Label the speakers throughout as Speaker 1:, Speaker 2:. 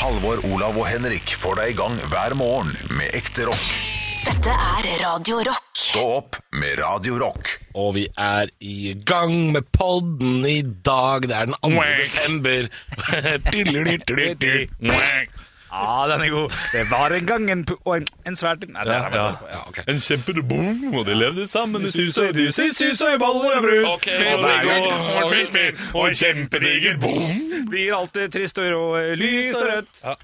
Speaker 1: Halvor, Olav og Henrik får deg i gang hver morgen med ekte rock.
Speaker 2: Dette er Radio Rock.
Speaker 1: Stå opp med Radio Rock.
Speaker 3: Og vi er i gang med podden i dag. Det er den 2. desember.
Speaker 4: Ja, den er god. Det var en gang en, pu- og en, en svært Nei, det er
Speaker 5: Ja.
Speaker 3: Ja, ok.
Speaker 5: En kjempebom, og de levde sammen i sus og dus, i sus og i baller og brus.
Speaker 3: Ok,
Speaker 5: og,
Speaker 3: og
Speaker 5: begge,
Speaker 3: begge-
Speaker 5: og, begge- og en kjempediger bom.
Speaker 4: Blir alltid trist og rå, lyst og rødt.
Speaker 3: Ja.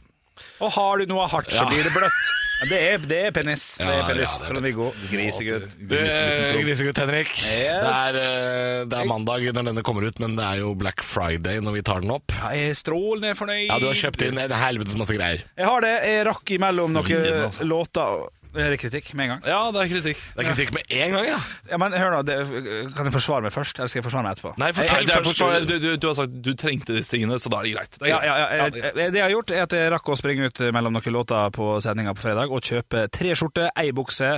Speaker 4: Og har du noe hardt, så
Speaker 3: Ja.
Speaker 4: blir det bløtt. Ja, det, er, det er penis. Det
Speaker 3: Ja,
Speaker 4: er penis
Speaker 3: ja, det er
Speaker 4: fra
Speaker 3: penis.
Speaker 4: Viggo. Grisegutt.
Speaker 3: Det er Grisegutt Henrik. Det, er, eh, det er mandag når denne kommer ut, men det er jo Black Friday når vi tar den opp.
Speaker 4: Ja, jeg er strålende fornøyd.
Speaker 3: Ja, Du har kjøpt inn en helvetes masse greier.
Speaker 4: Jeg har det. Jeg rakk imellom
Speaker 5: Svin,
Speaker 4: noen eh,
Speaker 5: altså.
Speaker 4: låter. og- Er det kritikk med en gang?
Speaker 5: Ja, det er kritikk.
Speaker 3: Det er kritikk med en gang, ja.
Speaker 4: Ja, men hør nå, det, Kan jeg forsvare meg først, eller skal jeg forsvare meg etterpå?
Speaker 3: Nei,
Speaker 5: Nei,
Speaker 3: fortell
Speaker 5: det er
Speaker 3: først.
Speaker 5: forstå- du, du, du har sagt du trengte disse tingene, så da er det greit. Det er
Speaker 4: Ja,
Speaker 5: greit.
Speaker 4: ja, ja, jeg, jeg, det jeg har gjort, er at jeg rakk å springe ut mellom noen låter på sendinga på fredag og kjøpe tre skjorter, ei bukse,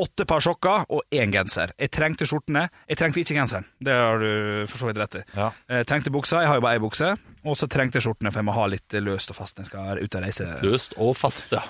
Speaker 4: åtte par sokker og én genser. Jeg trengte skjortene, jeg trengte ikke genseren. Det har du for så vidt rett i.
Speaker 5: Ja.
Speaker 4: Jeg trengte buksa, jeg har jo bare ei bukse, og så trengte jeg skjortene, for jeg må ha litt løst og fast når jeg skal ut og reise.
Speaker 5: Løst og fast, ja.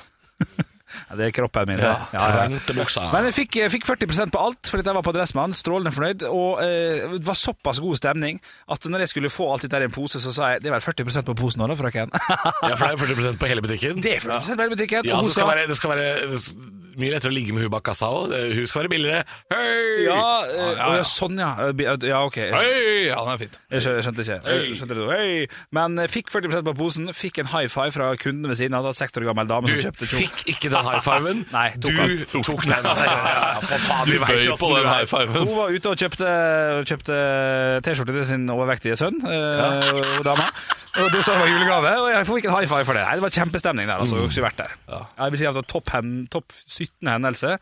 Speaker 4: Ja, det er kroppen min. det.
Speaker 5: Ja,
Speaker 4: Ja, ja.
Speaker 3: Trangt i buksa.
Speaker 4: Men jeg fikk, jeg fikk 40 på alt, fordi jeg var på Dressmann, strålende fornøyd, og eh, det var såpass god stemning at når jeg skulle få alt dette her i en pose, så sa jeg det er vel 40 på posen nå, da, frøken.
Speaker 3: Ja, for det er 40 på hele butikken.
Speaker 4: Det er 40 på hele butikken.
Speaker 3: Ja,
Speaker 4: og
Speaker 3: så
Speaker 4: hun
Speaker 3: skal
Speaker 4: sa-
Speaker 3: være, det skal være mye lettere å ligge med hun bak kassa òg. Hun skal være billigere. Hei!
Speaker 4: Ja, eh,
Speaker 5: Ja, ja,
Speaker 4: å,
Speaker 5: ja.
Speaker 4: ja, sånn ja. Eh, bi- Ja, ok. Jeg skjønte,
Speaker 5: Hei, ja, den er fint.
Speaker 4: jeg skjønte- jeg skjønte ikke. Jeg skjønte det. Hei. Men eh, fikk 40 på posen, fikk en high five fra kunden ved siden av. Da, 60 år gammel dame
Speaker 3: Du
Speaker 4: som kjøpte kjole.
Speaker 3: fikk ikke den high fiven.
Speaker 4: Nei, tok
Speaker 3: du
Speaker 4: han.
Speaker 3: tok den. Ja, ja, ja, for faen,
Speaker 5: Du
Speaker 3: vi vet
Speaker 5: bøy
Speaker 3: jo
Speaker 5: på
Speaker 3: åssen du er.
Speaker 5: den high fiven.
Speaker 4: Hun var ute og kjøpte, kjøpte T-skjorte til sin overvektige sønn eh, og dama. Og det sa det var julegave, og jeg fikk en high five for det. Nei, det var kjempestemning der.
Speaker 3: Mm.
Speaker 4: altså, skulle vært der. Jeg vil si at det var topp, hen, topp 17 hendelse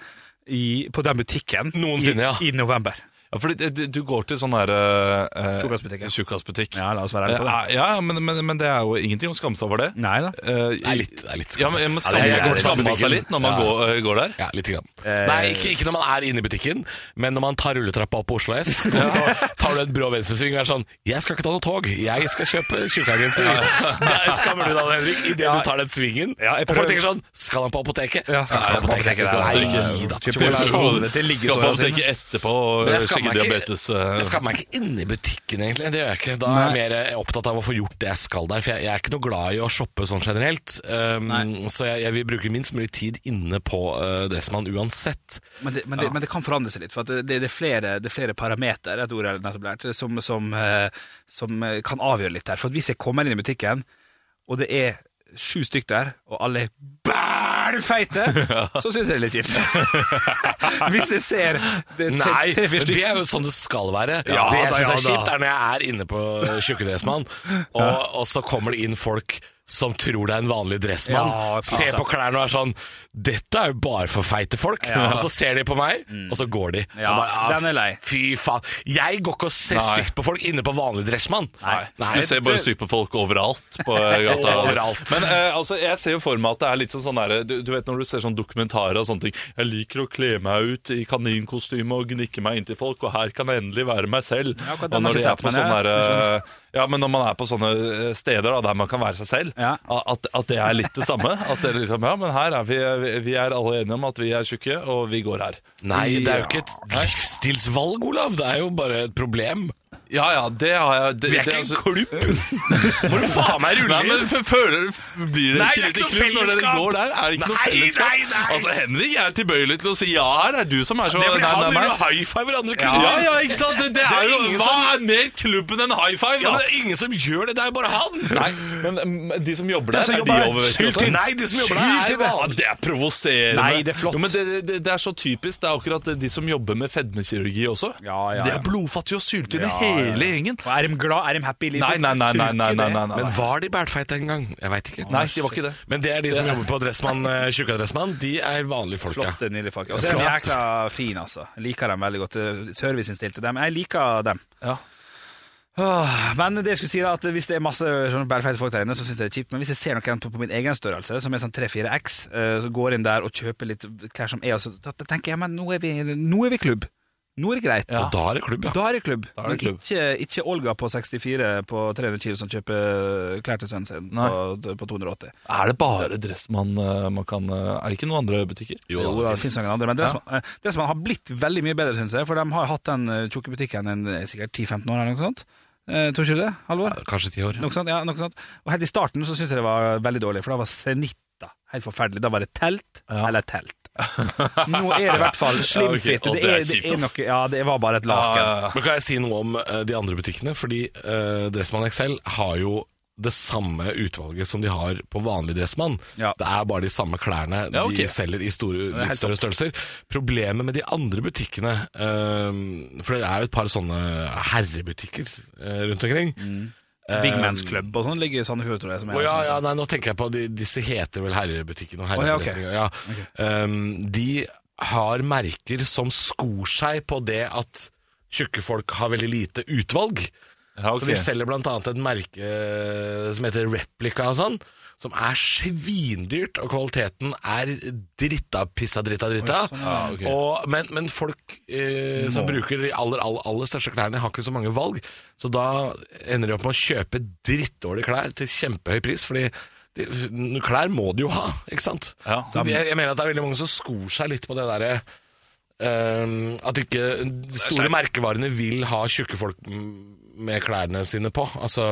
Speaker 4: i, på den butikken
Speaker 5: Noensinne,
Speaker 4: i,
Speaker 5: ja.
Speaker 4: i november.
Speaker 5: Ja, fordi det- du- du går til sånn der uh,
Speaker 4: Tjukkasbutikk, ja.
Speaker 5: Tjukkasbutikk.
Speaker 4: Ja, la oss være ærlige på det.
Speaker 5: Eh, Ja, ja, men, men, men det er jo ingenting å skamme seg over det.
Speaker 4: Nei da.
Speaker 5: Eh,
Speaker 3: Det er litt, det er litt
Speaker 5: Ja, men man
Speaker 3: Ja, det
Speaker 5: skammer,
Speaker 3: er-
Speaker 5: man
Speaker 3: det er-
Speaker 5: skammer
Speaker 3: butikken.
Speaker 5: seg litt når man
Speaker 3: Ja.
Speaker 5: går, eh, går der.
Speaker 3: Ja, litt grann. Nei, ikke, ikke når man er inne i butikken, men når man tar rulletrappa opp på Oslo S, og så tar du en brå venstresving og er sånn 'Jeg skal ikke ta noe tog, jeg skal kjøpe tjukkagenser'. Der skammer du deg, Henrik, idet du tar den svingen.
Speaker 4: Ja,
Speaker 3: og
Speaker 4: jeg
Speaker 3: folk
Speaker 4: prøver-
Speaker 3: tenker sånn 'Skal han på apoteket?'
Speaker 4: Ja,
Speaker 3: skal han på apoteket? Nei da.
Speaker 4: Kjøper
Speaker 3: tjukkagenser.
Speaker 4: sjokolade til
Speaker 5: Skal
Speaker 4: liggesåra
Speaker 5: man
Speaker 4: sine.
Speaker 5: tenke etterpå og
Speaker 3: Men jeg
Speaker 5: sjekke
Speaker 3: skammer meg ikke-
Speaker 5: diabetes eh,
Speaker 3: Jeg skammer meg ikke inne i butikken, egentlig. Det gjør jeg ikke. Da er jeg mer eh, opptatt av å få gjort det jeg skal der. For jeg, jeg er ikke noe glad i å shoppe sånn generelt. Um, så jeg, jeg vil bruke minst mulig tid inne på eh, Dressmann uansett.
Speaker 4: Men det, men, det, men det kan forandre seg litt, for at det, det, det, er flere, det er flere parameter et ord jeg nettopp lærte, som, som, eh, som eh, kan avgjøre litt her. For at hvis jeg kommer inn i butikken, og det er sju stykk der, og alle er bælfeite, så syns jeg det er litt kjipt. hvis jeg ser det er tre-
Speaker 3: Nei,
Speaker 4: tre-fire
Speaker 3: det
Speaker 4: stykker
Speaker 3: er jo sånn det skal være.
Speaker 4: Ja
Speaker 3: det jeg
Speaker 4: da,
Speaker 3: syns
Speaker 4: ja
Speaker 3: er
Speaker 4: da.
Speaker 3: kjipt, er når jeg er inne på Tjukkedressmann, og, og så kommer det inn folk som tror det er en vanlig dressmann.
Speaker 4: Ja,
Speaker 3: ser på klærne og er sånn 'Dette er jo bare for feite folk'. Og så ser de på meg, og så går de.
Speaker 4: Mm. Ja,
Speaker 3: Og ah,
Speaker 4: den er lei.
Speaker 3: Fy faen. Jeg går ikke og ser
Speaker 5: Nei.
Speaker 3: stygt på folk inne på vanlig dressmann.
Speaker 4: Nei.
Speaker 5: Du ser bare sykt på folk overalt på gata.
Speaker 3: Overalt.
Speaker 5: Men eh, altså, jeg ser jo for meg at det er litt sånn sånn der, du, du vet når du ser sånn dokumentarer og sånne ting. Jeg liker å kle meg ut i kaninkostyme og gnikke meg inntil folk, og her kan jeg endelig være meg selv.
Speaker 4: Ja, akkurat den
Speaker 5: og når
Speaker 4: har jeg
Speaker 5: de
Speaker 4: ikke
Speaker 5: er
Speaker 4: sett,
Speaker 5: på
Speaker 4: men
Speaker 5: sånne
Speaker 4: jeg-
Speaker 5: der, eh, ja, men når man er på sånne eh, steder da, der man kan være seg selv,
Speaker 4: Ja.
Speaker 5: at, at det er litt det samme. At det er liksom, ja, men her er vi, vi- vi er alle enige om at vi er tjukke, og vi går her.
Speaker 3: Nei, det er jo ikke et livsstilsvalg, Olav. Det er jo bare et problem.
Speaker 5: Ja, ja, det har jeg. Det,
Speaker 3: Vi er ikke
Speaker 5: det
Speaker 3: en
Speaker 5: altså-
Speaker 3: klubb! Må du faen meg rulle
Speaker 5: Nei,
Speaker 3: inn?
Speaker 5: men f- føler, blir det
Speaker 3: Nei,
Speaker 5: ikke
Speaker 3: det er
Speaker 5: litt
Speaker 3: ikke noe
Speaker 5: klubb når dere
Speaker 3: fellesskap.
Speaker 5: går der? Er det ikke noe
Speaker 3: Nei,
Speaker 5: fellesskap?
Speaker 3: nei, nei.
Speaker 5: Altså, Henrik er tilbøyelig til å si ja her, det er du som er så
Speaker 3: Det er fordi
Speaker 5: nei,
Speaker 3: han
Speaker 5: nei, nei.
Speaker 3: ruller high five hverandre i klubben.
Speaker 5: Ja, ja, ikke sant? Det, det,
Speaker 3: er
Speaker 5: er jo
Speaker 3: ingen
Speaker 5: Hva
Speaker 3: som-
Speaker 5: er mer klubben enn high five?
Speaker 3: Ja,
Speaker 5: Da?
Speaker 3: men det er ingen som gjør det, det er jo bare han!
Speaker 5: Nei, men mm, de som jobber der,
Speaker 4: som
Speaker 5: er
Speaker 4: jobber
Speaker 5: de
Speaker 4: der.
Speaker 5: overvektige
Speaker 3: Skyld
Speaker 5: også?
Speaker 3: til- Nei, de som jobber der
Speaker 5: Skyld
Speaker 3: er
Speaker 5: til det. Ja,
Speaker 3: vanlige.
Speaker 5: det er provoserende.
Speaker 4: Nei, det er flott.
Speaker 5: Jo, men det, det, det er så typisk. Det er akkurat de som jobber med fedmekirurgi også.
Speaker 4: Ja, ja,
Speaker 5: Det
Speaker 4: ja.
Speaker 5: er blodfattige og syltynne,
Speaker 4: Ja, ja.
Speaker 5: hele gjengen.
Speaker 4: Og Er de glad? Er de happy i livet?
Speaker 5: Nei, nei, nei, nei, nei, nei, nei, nei.
Speaker 3: Men var de bælfeite en gang? Jeg veit ikke.
Speaker 5: Nei, de var ikke det.
Speaker 3: Men det er de som jobber på Dressmann, eh, Tjukkadressmann. De er vanlige folk, ja.
Speaker 4: Flotte, nydelige folk. Og så er de
Speaker 3: Flott.
Speaker 4: jækla fine, altså. Jeg liker dem veldig godt. Serviceinnstilte dem. Jeg liker dem.
Speaker 5: Ja.
Speaker 4: Åh, Men det jeg skulle si da, at hvis det er masse sånne bælfeite folk der inne, så syns jeg det er kjipt. Men hvis jeg ser noen på, på min egen størrelse, som er sånn 3-4X, eh, så går jeg inn der og kjøper litt klær som er, og så da, da tenker jeg men nå er vi, nå er vi klubb. Nå er det greit.
Speaker 3: Og da er det klubb, ja.
Speaker 4: Da er det klubb.
Speaker 5: Da er det klubb.
Speaker 4: Men ikke, ikke Olga på 64 på 300 kilo som kjøper klær til sønnen sin
Speaker 5: Nei.
Speaker 4: på, på 280.
Speaker 5: Er det bare dress man, eh, man kan eh, Er det ikke noen andre butikker?
Speaker 3: Jo da,
Speaker 4: det, finnes noen andre, men det, som, eh, det som har blitt veldig mye bedre, syns jeg, for de har hatt den eh, tjukke butikken en, eh, sikkert 10-15 år eller noe sånt. Eh, tror ikke du det, Halvor?
Speaker 3: Kanskje ti år.
Speaker 4: Noe sånt, ja, noe sånt. Og helt i starten så syns jeg det var veldig dårlig, for da var senita helt forferdelig. Da var det telt eller telt. Nå er det i hvert fall
Speaker 5: Ja,
Speaker 4: slimfritt.
Speaker 5: ok. Å,
Speaker 4: og
Speaker 5: det
Speaker 4: det,
Speaker 5: er
Speaker 4: er, det,
Speaker 5: kjipt,
Speaker 4: er
Speaker 5: ass.
Speaker 4: noe, ja, det var bare et laken.
Speaker 5: Ja,
Speaker 3: Men kan jeg si noe om eh, de andre butikkene? Fordi eh, Dressmann XL har jo det samme utvalget som de har på vanlig Dressmann.
Speaker 4: Ja.
Speaker 3: Det er bare de samme klærne
Speaker 5: Ja, ok.
Speaker 3: de selger i store,
Speaker 4: er
Speaker 3: litt
Speaker 4: helt
Speaker 3: større størrelser. Problemet med de andre butikkene eh, For det er jo et par sånne herrebutikker eh, rundt omkring.
Speaker 4: Big Man's Club og sånn ligger i Sandefjord, tror jeg. Som
Speaker 3: Å
Speaker 4: er, sånn-
Speaker 3: ja, ja, nei, nå tenker jeg på de, Disse heter vel herrebutikken og
Speaker 4: Å ja, ok.
Speaker 3: herreforretningen. ja, Um, de har merker som skor seg på det at tjukke folk har veldig lite utvalg.
Speaker 5: Ja, ok.
Speaker 3: Så de selger blant annet et merke eh, som heter Replica og sånn. Som er svindyrt, og kvaliteten er dritta, pissa, dritta, dritta.
Speaker 4: Oi, sånn,
Speaker 5: ja. Ja, ok.
Speaker 3: og, men, men folk eh, som bruker de aller, aller, aller største klærne, har ikke så mange valg. Så da ender de opp med å kjøpe drittdårlige klær til kjempehøy pris, fordi de, klær må de jo ha, ikke sant?
Speaker 5: Ja.
Speaker 3: så de, jeg mener at det er veldig mange som skor seg litt på det derre ehm, At ikke de store merkevarene vil ha tjukke folk m- med klærne sine på. Altså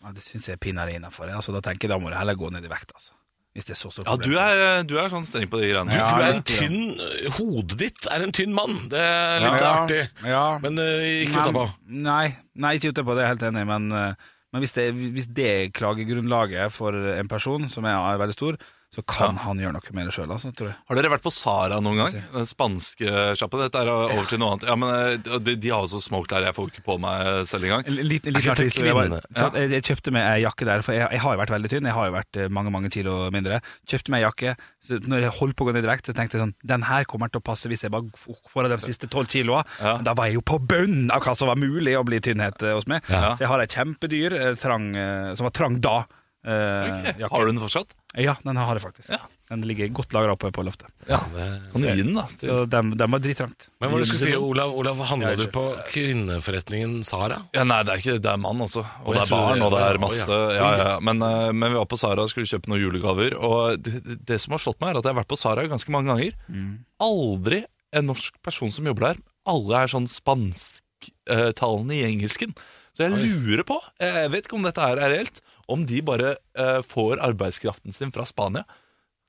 Speaker 4: Ja, det syns jeg er pinadø innafor. Altså, da tenker jeg da må du heller gå ned i vekt, altså. Hvis det er så stort
Speaker 5: Ja, du er, eh, du er sånn streng på de greiene.
Speaker 3: Du
Speaker 4: Ja,
Speaker 3: tror du er en
Speaker 4: det er
Speaker 3: tynn Hodet ditt er en tynn mann. Det er litt
Speaker 4: Ja.
Speaker 3: artig.
Speaker 4: Ja.
Speaker 3: Men eh, ikke utapå.
Speaker 4: Nei, nei, ikke utapå, det er jeg helt enig i, men, eh, men hvis, det, hvis det er klagegrunnlaget for en person som er, er veldig stor, så kan han gjøre noe med det sjøl, altså, tror jeg.
Speaker 5: Har dere vært på Sara noen gang? Den spanske sjappa? Dette er over til noe annet. Ja, men eh, de, de har jo så smoke der jeg får ikke på meg selv engang.
Speaker 4: En liten- liten
Speaker 3: ikke til
Speaker 4: artist, jeg bare-
Speaker 3: kvinne.
Speaker 4: sant, Jeg, jeg kjøpte meg ei jakke der, for jeg, jeg har jo vært veldig tynn. Jeg har jo vært eh, mange mange kilo mindre. Kjøpte meg ei jakke. Så når jeg holdt på å gå ned i vekt, så tenkte jeg sånn Den her kommer til å passe hvis jeg bare f- får av de siste tolv kiloa.
Speaker 5: Ja.
Speaker 4: Men Da var jeg jo på bunnen av hva som var mulig å bli tynnhet eh, hos meg.
Speaker 5: Ja.
Speaker 4: Så jeg har ei kjempedyr eh, trang, eh, som var trang da. Eh,
Speaker 5: Ok,
Speaker 4: jakke.
Speaker 5: Har du den fortsatt?
Speaker 4: Ja, den har jeg faktisk.
Speaker 5: Ja.
Speaker 4: Den ligger godt lagra oppe på loftet.
Speaker 5: Ja. Kan du gi den, da? til-
Speaker 4: Så den, den var drittrangt.
Speaker 3: Men hva du skulle si, Olav, Olav handla
Speaker 4: Jeg
Speaker 3: du
Speaker 4: er ikke-
Speaker 3: på kvinneforretningen Sara?
Speaker 5: Ja, nei, det er ikke, det er mann også. Og
Speaker 3: Og jeg
Speaker 5: det er
Speaker 3: tror
Speaker 5: barn,
Speaker 3: det-
Speaker 5: og det
Speaker 3: Å,
Speaker 5: er
Speaker 3: ja.
Speaker 5: masse ja, ja. ja. Men, eh, men vi var på Sara og skulle kjøpe noen julegaver. Og det, det som har slått meg, er at jeg har vært på Sara ganske mange ganger.
Speaker 3: Mm.
Speaker 5: Aldri en norsk person som jobber der. Alle er sånn spansktalende i engelsken. Så jeg lurer på, eh, jeg vet ikke om dette her er reelt, om de bare eh, får arbeidskraften sin fra Spania.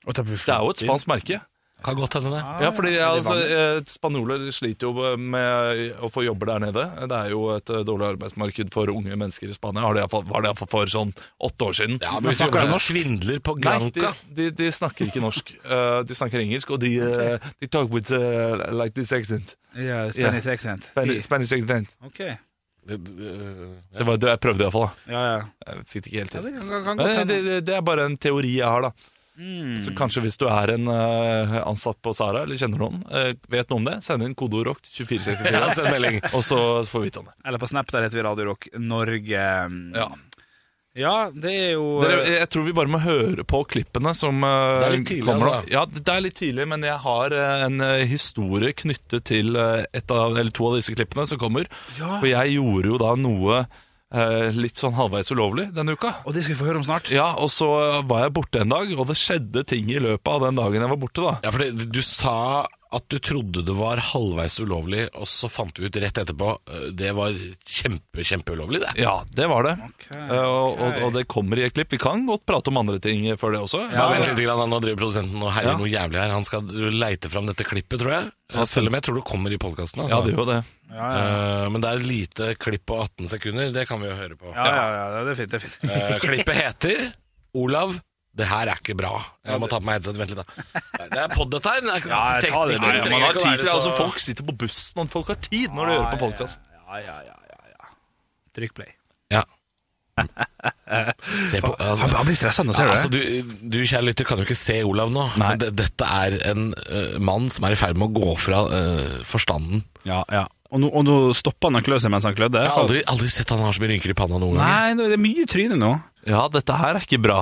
Speaker 5: Det er jo et spansk merke.
Speaker 3: Kan godt hende det.
Speaker 4: Ah,
Speaker 5: Ja, fordi altså, eh, Spanjoler sliter jo med å få jobber der nede. Det er jo et eh, dårlig arbeidsmarked for unge mennesker i Spania. Har det i hvert fall- Var det iallfall for sånn åtte år siden.
Speaker 3: Ja, men hvis du
Speaker 4: snakker
Speaker 3: jobber
Speaker 4: de
Speaker 3: som svindler på
Speaker 5: Nei, de,
Speaker 3: Granca
Speaker 5: de, de snakker ikke norsk. Eh, de snakker engelsk, og de, eh, de talk with eh, like this accent.
Speaker 4: Ja, Spanish accent.
Speaker 5: Spani- Spanish accent.
Speaker 4: Ok. Ja,
Speaker 5: Det var det jeg prøvde iallfall.
Speaker 4: ja.
Speaker 5: Jeg fikk det ikke helt
Speaker 4: ja
Speaker 5: til.
Speaker 4: det kan, kan, kan godt
Speaker 5: Men
Speaker 4: hende.
Speaker 5: Det, det, det er bare en teori jeg har, da.
Speaker 4: Mm.
Speaker 5: Så kanskje hvis du er en eh, ansatt på Sara, eller kjenner noen, eh, vet noe om det, send inn kodeord ROCK til 2464.
Speaker 3: Ja, send melding.
Speaker 5: Og så får vi vite om det.
Speaker 4: Eller på Snap, der heter vi Radio Rock Norge.
Speaker 5: Ja.
Speaker 4: Ja, det er jo
Speaker 5: Dere, jeg tror vi bare må høre på klippene som eh,
Speaker 3: Det er litt tidlig,
Speaker 5: kommer. nå.
Speaker 3: altså.
Speaker 5: Ja, det er litt tidlig, men jeg har eh, en eh, historie knyttet til eh, et av, eller to av disse klippene som kommer. For jeg gjorde jo da noe eh, litt sånn halvveis ulovlig denne uka.
Speaker 4: Og det skal vi få høre om snart.
Speaker 5: Ja, og så var jeg borte en dag, og det skjedde ting i løpet av den dagen jeg var borte, da.
Speaker 3: Ja, for det, du sa at du trodde det var halvveis ulovlig, og så fant du ut rett etterpå eh, det var kjempe, kjempeulovlig, det.
Speaker 5: Ja, det var det.
Speaker 4: Ok,
Speaker 5: Eh, og, og, og det kommer i et klipp. Vi kan godt prate om andre ting før det også.
Speaker 3: Bare vent litt, grann, da. nå driver produsenten og herjer
Speaker 5: Ja.
Speaker 3: noe jævlig her. Han skal leite fram dette klippet, tror jeg. Eh, Selv om jeg tror det kommer i podkasten.
Speaker 5: Ja,
Speaker 3: Altså.
Speaker 5: det gjør jo det.
Speaker 3: Eh, men det er et lite klipp på 18 sekunder, det kan vi jo høre på.
Speaker 4: Ja, ja, ja, det er fint. det er fint
Speaker 3: Eh, klippet heter 'Olav, det her er ikke bra'. Jeg må ta på meg headset, vent litt da. Det er pod, dette her. Det er
Speaker 4: Ja, jeg tar det,
Speaker 3: teknikken
Speaker 4: du.
Speaker 5: Nei,
Speaker 4: Det
Speaker 3: trenger
Speaker 5: man har
Speaker 3: ikke å
Speaker 5: tid
Speaker 3: være
Speaker 5: til, altså
Speaker 3: så-
Speaker 5: Folk sitter på bussen, og folk har tid når de hører på podkast.
Speaker 4: Ja, ja, ja, ja, ja. Trykk play.
Speaker 3: Ja. Se på
Speaker 4: Han, han blir stressa nå, ser
Speaker 3: ja,
Speaker 4: du
Speaker 3: altså,
Speaker 4: det?
Speaker 3: du, du, kjære lytter, kan jo ikke se Olav nå.
Speaker 4: Nei.
Speaker 3: Men det- Dette er en eh, mann som er i ferd med å gå fra eh, forstanden.
Speaker 4: Ja, ja. Og nå, og nå stopper han å klø seg mens han klødde.
Speaker 3: Jeg har aldri, aldri sett han har så mye rynker i panna noen gang.
Speaker 4: Nei, nå er det mye tryne nå.
Speaker 5: Ja, dette her er ikke bra.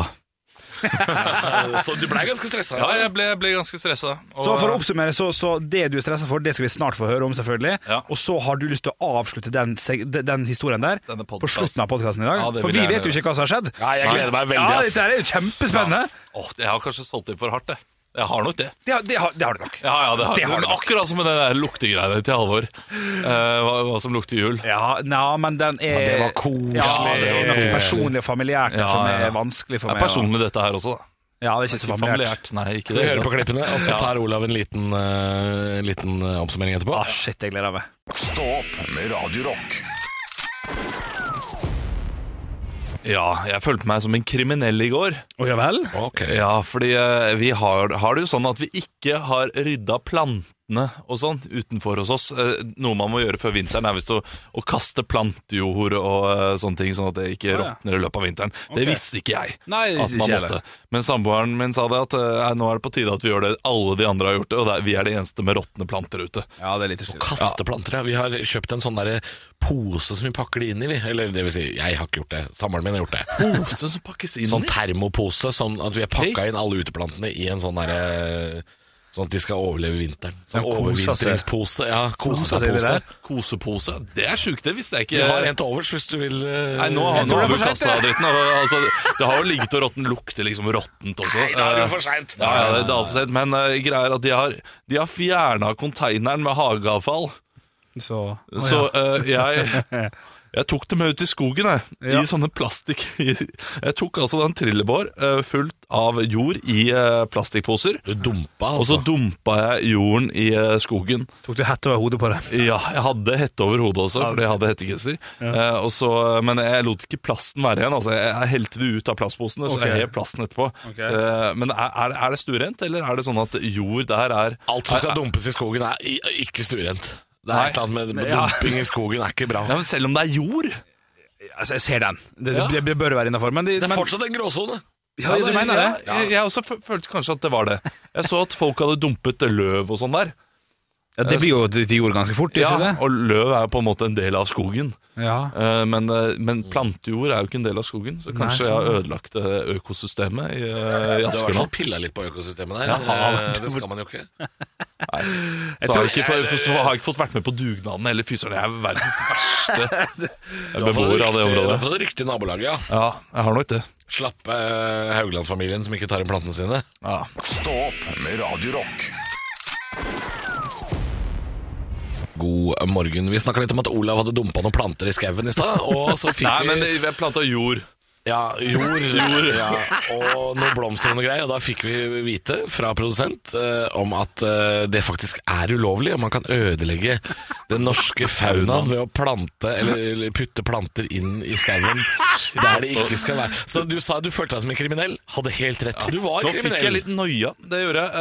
Speaker 3: Eh, Så du blei ganske stressa?
Speaker 5: Ja, jeg ble, ble ganske stressa. og-
Speaker 4: Så for å oppsummere, så, så det du er stressa for, det skal vi snart få høre om, selvfølgelig.
Speaker 5: Ja.
Speaker 4: Og så har du lyst til å avslutte den, seg- de- den historien der
Speaker 5: Denne podcasten.
Speaker 4: på slutten av podkasten i dag.
Speaker 5: Ja, det
Speaker 4: for
Speaker 5: vil
Speaker 4: vi
Speaker 5: jeg
Speaker 4: vet jo
Speaker 5: gjøre.
Speaker 4: ikke hva som har skjedd.
Speaker 3: Nei, jeg gleder meg veldig,
Speaker 4: Ja,
Speaker 3: ass.
Speaker 4: dette her er jo kjempespennende.
Speaker 5: Åh, jeg har kanskje solgt det for hardt, jeg. Jeg har nok det.
Speaker 4: Det, har- det, har, det har du nok.
Speaker 5: Ja, ja, det har,
Speaker 4: Det har
Speaker 5: men
Speaker 4: du nok.
Speaker 5: Akkurat som med den der luktegreiene til Halvor. Eh, hva, hva som lukter jul.
Speaker 4: Ja, nei, men den er
Speaker 3: det var koselig.
Speaker 4: Ja, det er noe personlig og familiært der
Speaker 5: Ja,
Speaker 4: som
Speaker 5: ja.
Speaker 4: er vanskelig for
Speaker 5: Det
Speaker 4: meg.
Speaker 5: er personlig dette her også, da.
Speaker 4: å- Ja, det er ikke så familiært.
Speaker 5: Familiært. Nei, ikke
Speaker 3: Vi
Speaker 5: det.
Speaker 3: hører på klippene, og så tar Olav en liten, eh, liten eh, oppsummering etterpå.
Speaker 4: Ah, shit, jeg gleder meg.
Speaker 1: Stå opp med Radio Rock.
Speaker 5: Ja, jeg følte meg som en kriminell i går.
Speaker 4: Å ja vel?
Speaker 3: Ok.
Speaker 5: Ja, fordi eh, vi har, har det jo sånn at vi ikke har rydda plantene og sånn utenfor hos oss. Eh, Noe man må gjøre før vinteren er visst å, å kaste plantejord og eh, sånne ting, sånn at det ikke
Speaker 4: Å, ja.
Speaker 5: råtner i løpet av vinteren.
Speaker 4: Ok.
Speaker 5: Det visste ikke jeg.
Speaker 4: Nei,
Speaker 5: At man
Speaker 4: ikke jeg
Speaker 5: måtte. Men samboeren min sa det at eh, nå er det på tide at vi gjør det alle de andre har gjort det, og det er, vi er de eneste med råtne planter ute.
Speaker 4: Ja, det er litt slitt.
Speaker 3: Kaste planter, ja. Vi har kjøpt en sånn der pose som vi pakker de inn i. vi. Eller det vil si, jeg har ikke gjort det. Samboeren min har gjort det.
Speaker 4: Oh,
Speaker 5: Posen som pakkes inn
Speaker 3: Sånn
Speaker 5: i.
Speaker 3: termopose, sånn at vi har pakka inn alle uteplantene i en sånn derre Sånn at de skal overleve vinteren. Sånn
Speaker 4: Ja, kosa seg.
Speaker 3: overvintringspose. Ja,
Speaker 4: Kosa
Speaker 3: kosa
Speaker 4: seg i det
Speaker 3: seg-pose.
Speaker 4: der.
Speaker 5: Kosepose. Det er sjukt, det visste jeg ikke.
Speaker 3: Vi har en til overs hvis du vil eh,
Speaker 5: Nei, nå,
Speaker 4: Jeg
Speaker 5: nå
Speaker 4: tror
Speaker 5: har
Speaker 4: det er
Speaker 5: vi
Speaker 4: for
Speaker 5: kasta
Speaker 4: sent,
Speaker 5: dritten. og, Altså, det har jo ligget og råttent. Lukter liksom råttent også.
Speaker 3: Nei, da er det
Speaker 5: Eh,
Speaker 3: for sent.
Speaker 5: Ja, ja, det, det er for sent. Men uh, greier at de har, de har fjerna konteineren med hageavfall.
Speaker 4: Så, Å,
Speaker 5: Så
Speaker 4: ja.
Speaker 5: eh, jeg jeg tok dem ut i skogen, jeg.
Speaker 4: Ja.
Speaker 5: I sånne plastikk Jeg tok altså den trillebår eh, fullt av jord i eh, plastikkposer.
Speaker 3: Du dumpa,
Speaker 5: Og så
Speaker 3: altså.
Speaker 5: dumpa jeg jorden i eh, skogen.
Speaker 4: Tok du hett over hodet på det?
Speaker 5: Ja, jeg hadde hette over hodet også, fordi jeg hadde hettegenser. Eh, og så- men jeg lot ikke plasten være igjen. Altså, jeg jeg helte det ut av plastposene, så
Speaker 4: Ok.
Speaker 5: jeg hev plasten etterpå.
Speaker 4: Ok.
Speaker 5: Eh, men er, er er det stuerent, eller er det sånn at jord der er
Speaker 3: Alt som skal dumpes i skogen, er i- ikke stuerent. Det er
Speaker 5: Nei.
Speaker 3: et eller annet med- med
Speaker 4: Ja.
Speaker 3: dumping i skogen er ikke bra.
Speaker 5: Nei, men Selv om det er jord?
Speaker 4: Altså, jeg ser den. Det,
Speaker 5: Ja.
Speaker 4: det, det bør være innafor. Men,
Speaker 3: Det er
Speaker 4: men
Speaker 3: fortsatt en gråsone.
Speaker 4: Ja, du mener det?
Speaker 5: Ja. Jeg, jeg også fø- følte kanskje at det var det. Jeg så at folk hadde dumpet løv og sånn der.
Speaker 4: Ja, det blir jo til jord ganske fort, gjør
Speaker 5: Ja,
Speaker 4: ikke det?
Speaker 5: og løv er jo på en måte en del av skogen.
Speaker 4: Ja.
Speaker 5: Eh, Men, eh, men plantejord er jo ikke en del av skogen, så kanskje jeg har ødelagt eh, økosystemet i, eh, i
Speaker 3: Du har i hvert
Speaker 5: Askeland.
Speaker 3: fall pilla litt på økosystemet der. Eh,
Speaker 5: Ja, har
Speaker 3: det skal man jo ikke.
Speaker 5: Så har jeg, ikke, fått- så har jeg ikke fått vært med på dugnaden eller fyseren. Jeg er verdens verste beboer av det
Speaker 3: Du har
Speaker 5: området.
Speaker 3: fått rykte i nabolaget, ja.
Speaker 5: Ja, jeg har nok det.
Speaker 3: Slappe eh, Haugland-familien som ikke tar inn plantene sine.
Speaker 5: Ja.
Speaker 1: Stå opp med Radio Rock.
Speaker 3: God morgen. Vi snakka litt om at Olav hadde dumpa noen planter i skauen i stad. Og så fikk
Speaker 5: Nei,
Speaker 3: vi
Speaker 5: men jeg planta jord.
Speaker 3: ja, jord, Ja, og noen blomster og noe greier. Og da fikk vi vite fra produsent eh, om at eh, det faktisk er ulovlig. Og man kan ødelegge den norske faunaen ved å plante eller, eller putte planter inn i skauen der det ikke skal være. Så du sa du følte deg som en kriminell. Hadde helt rett. Du var
Speaker 5: Nå fikk jeg
Speaker 3: kriminell.
Speaker 5: litt noia. Det gjorde jeg. Eh,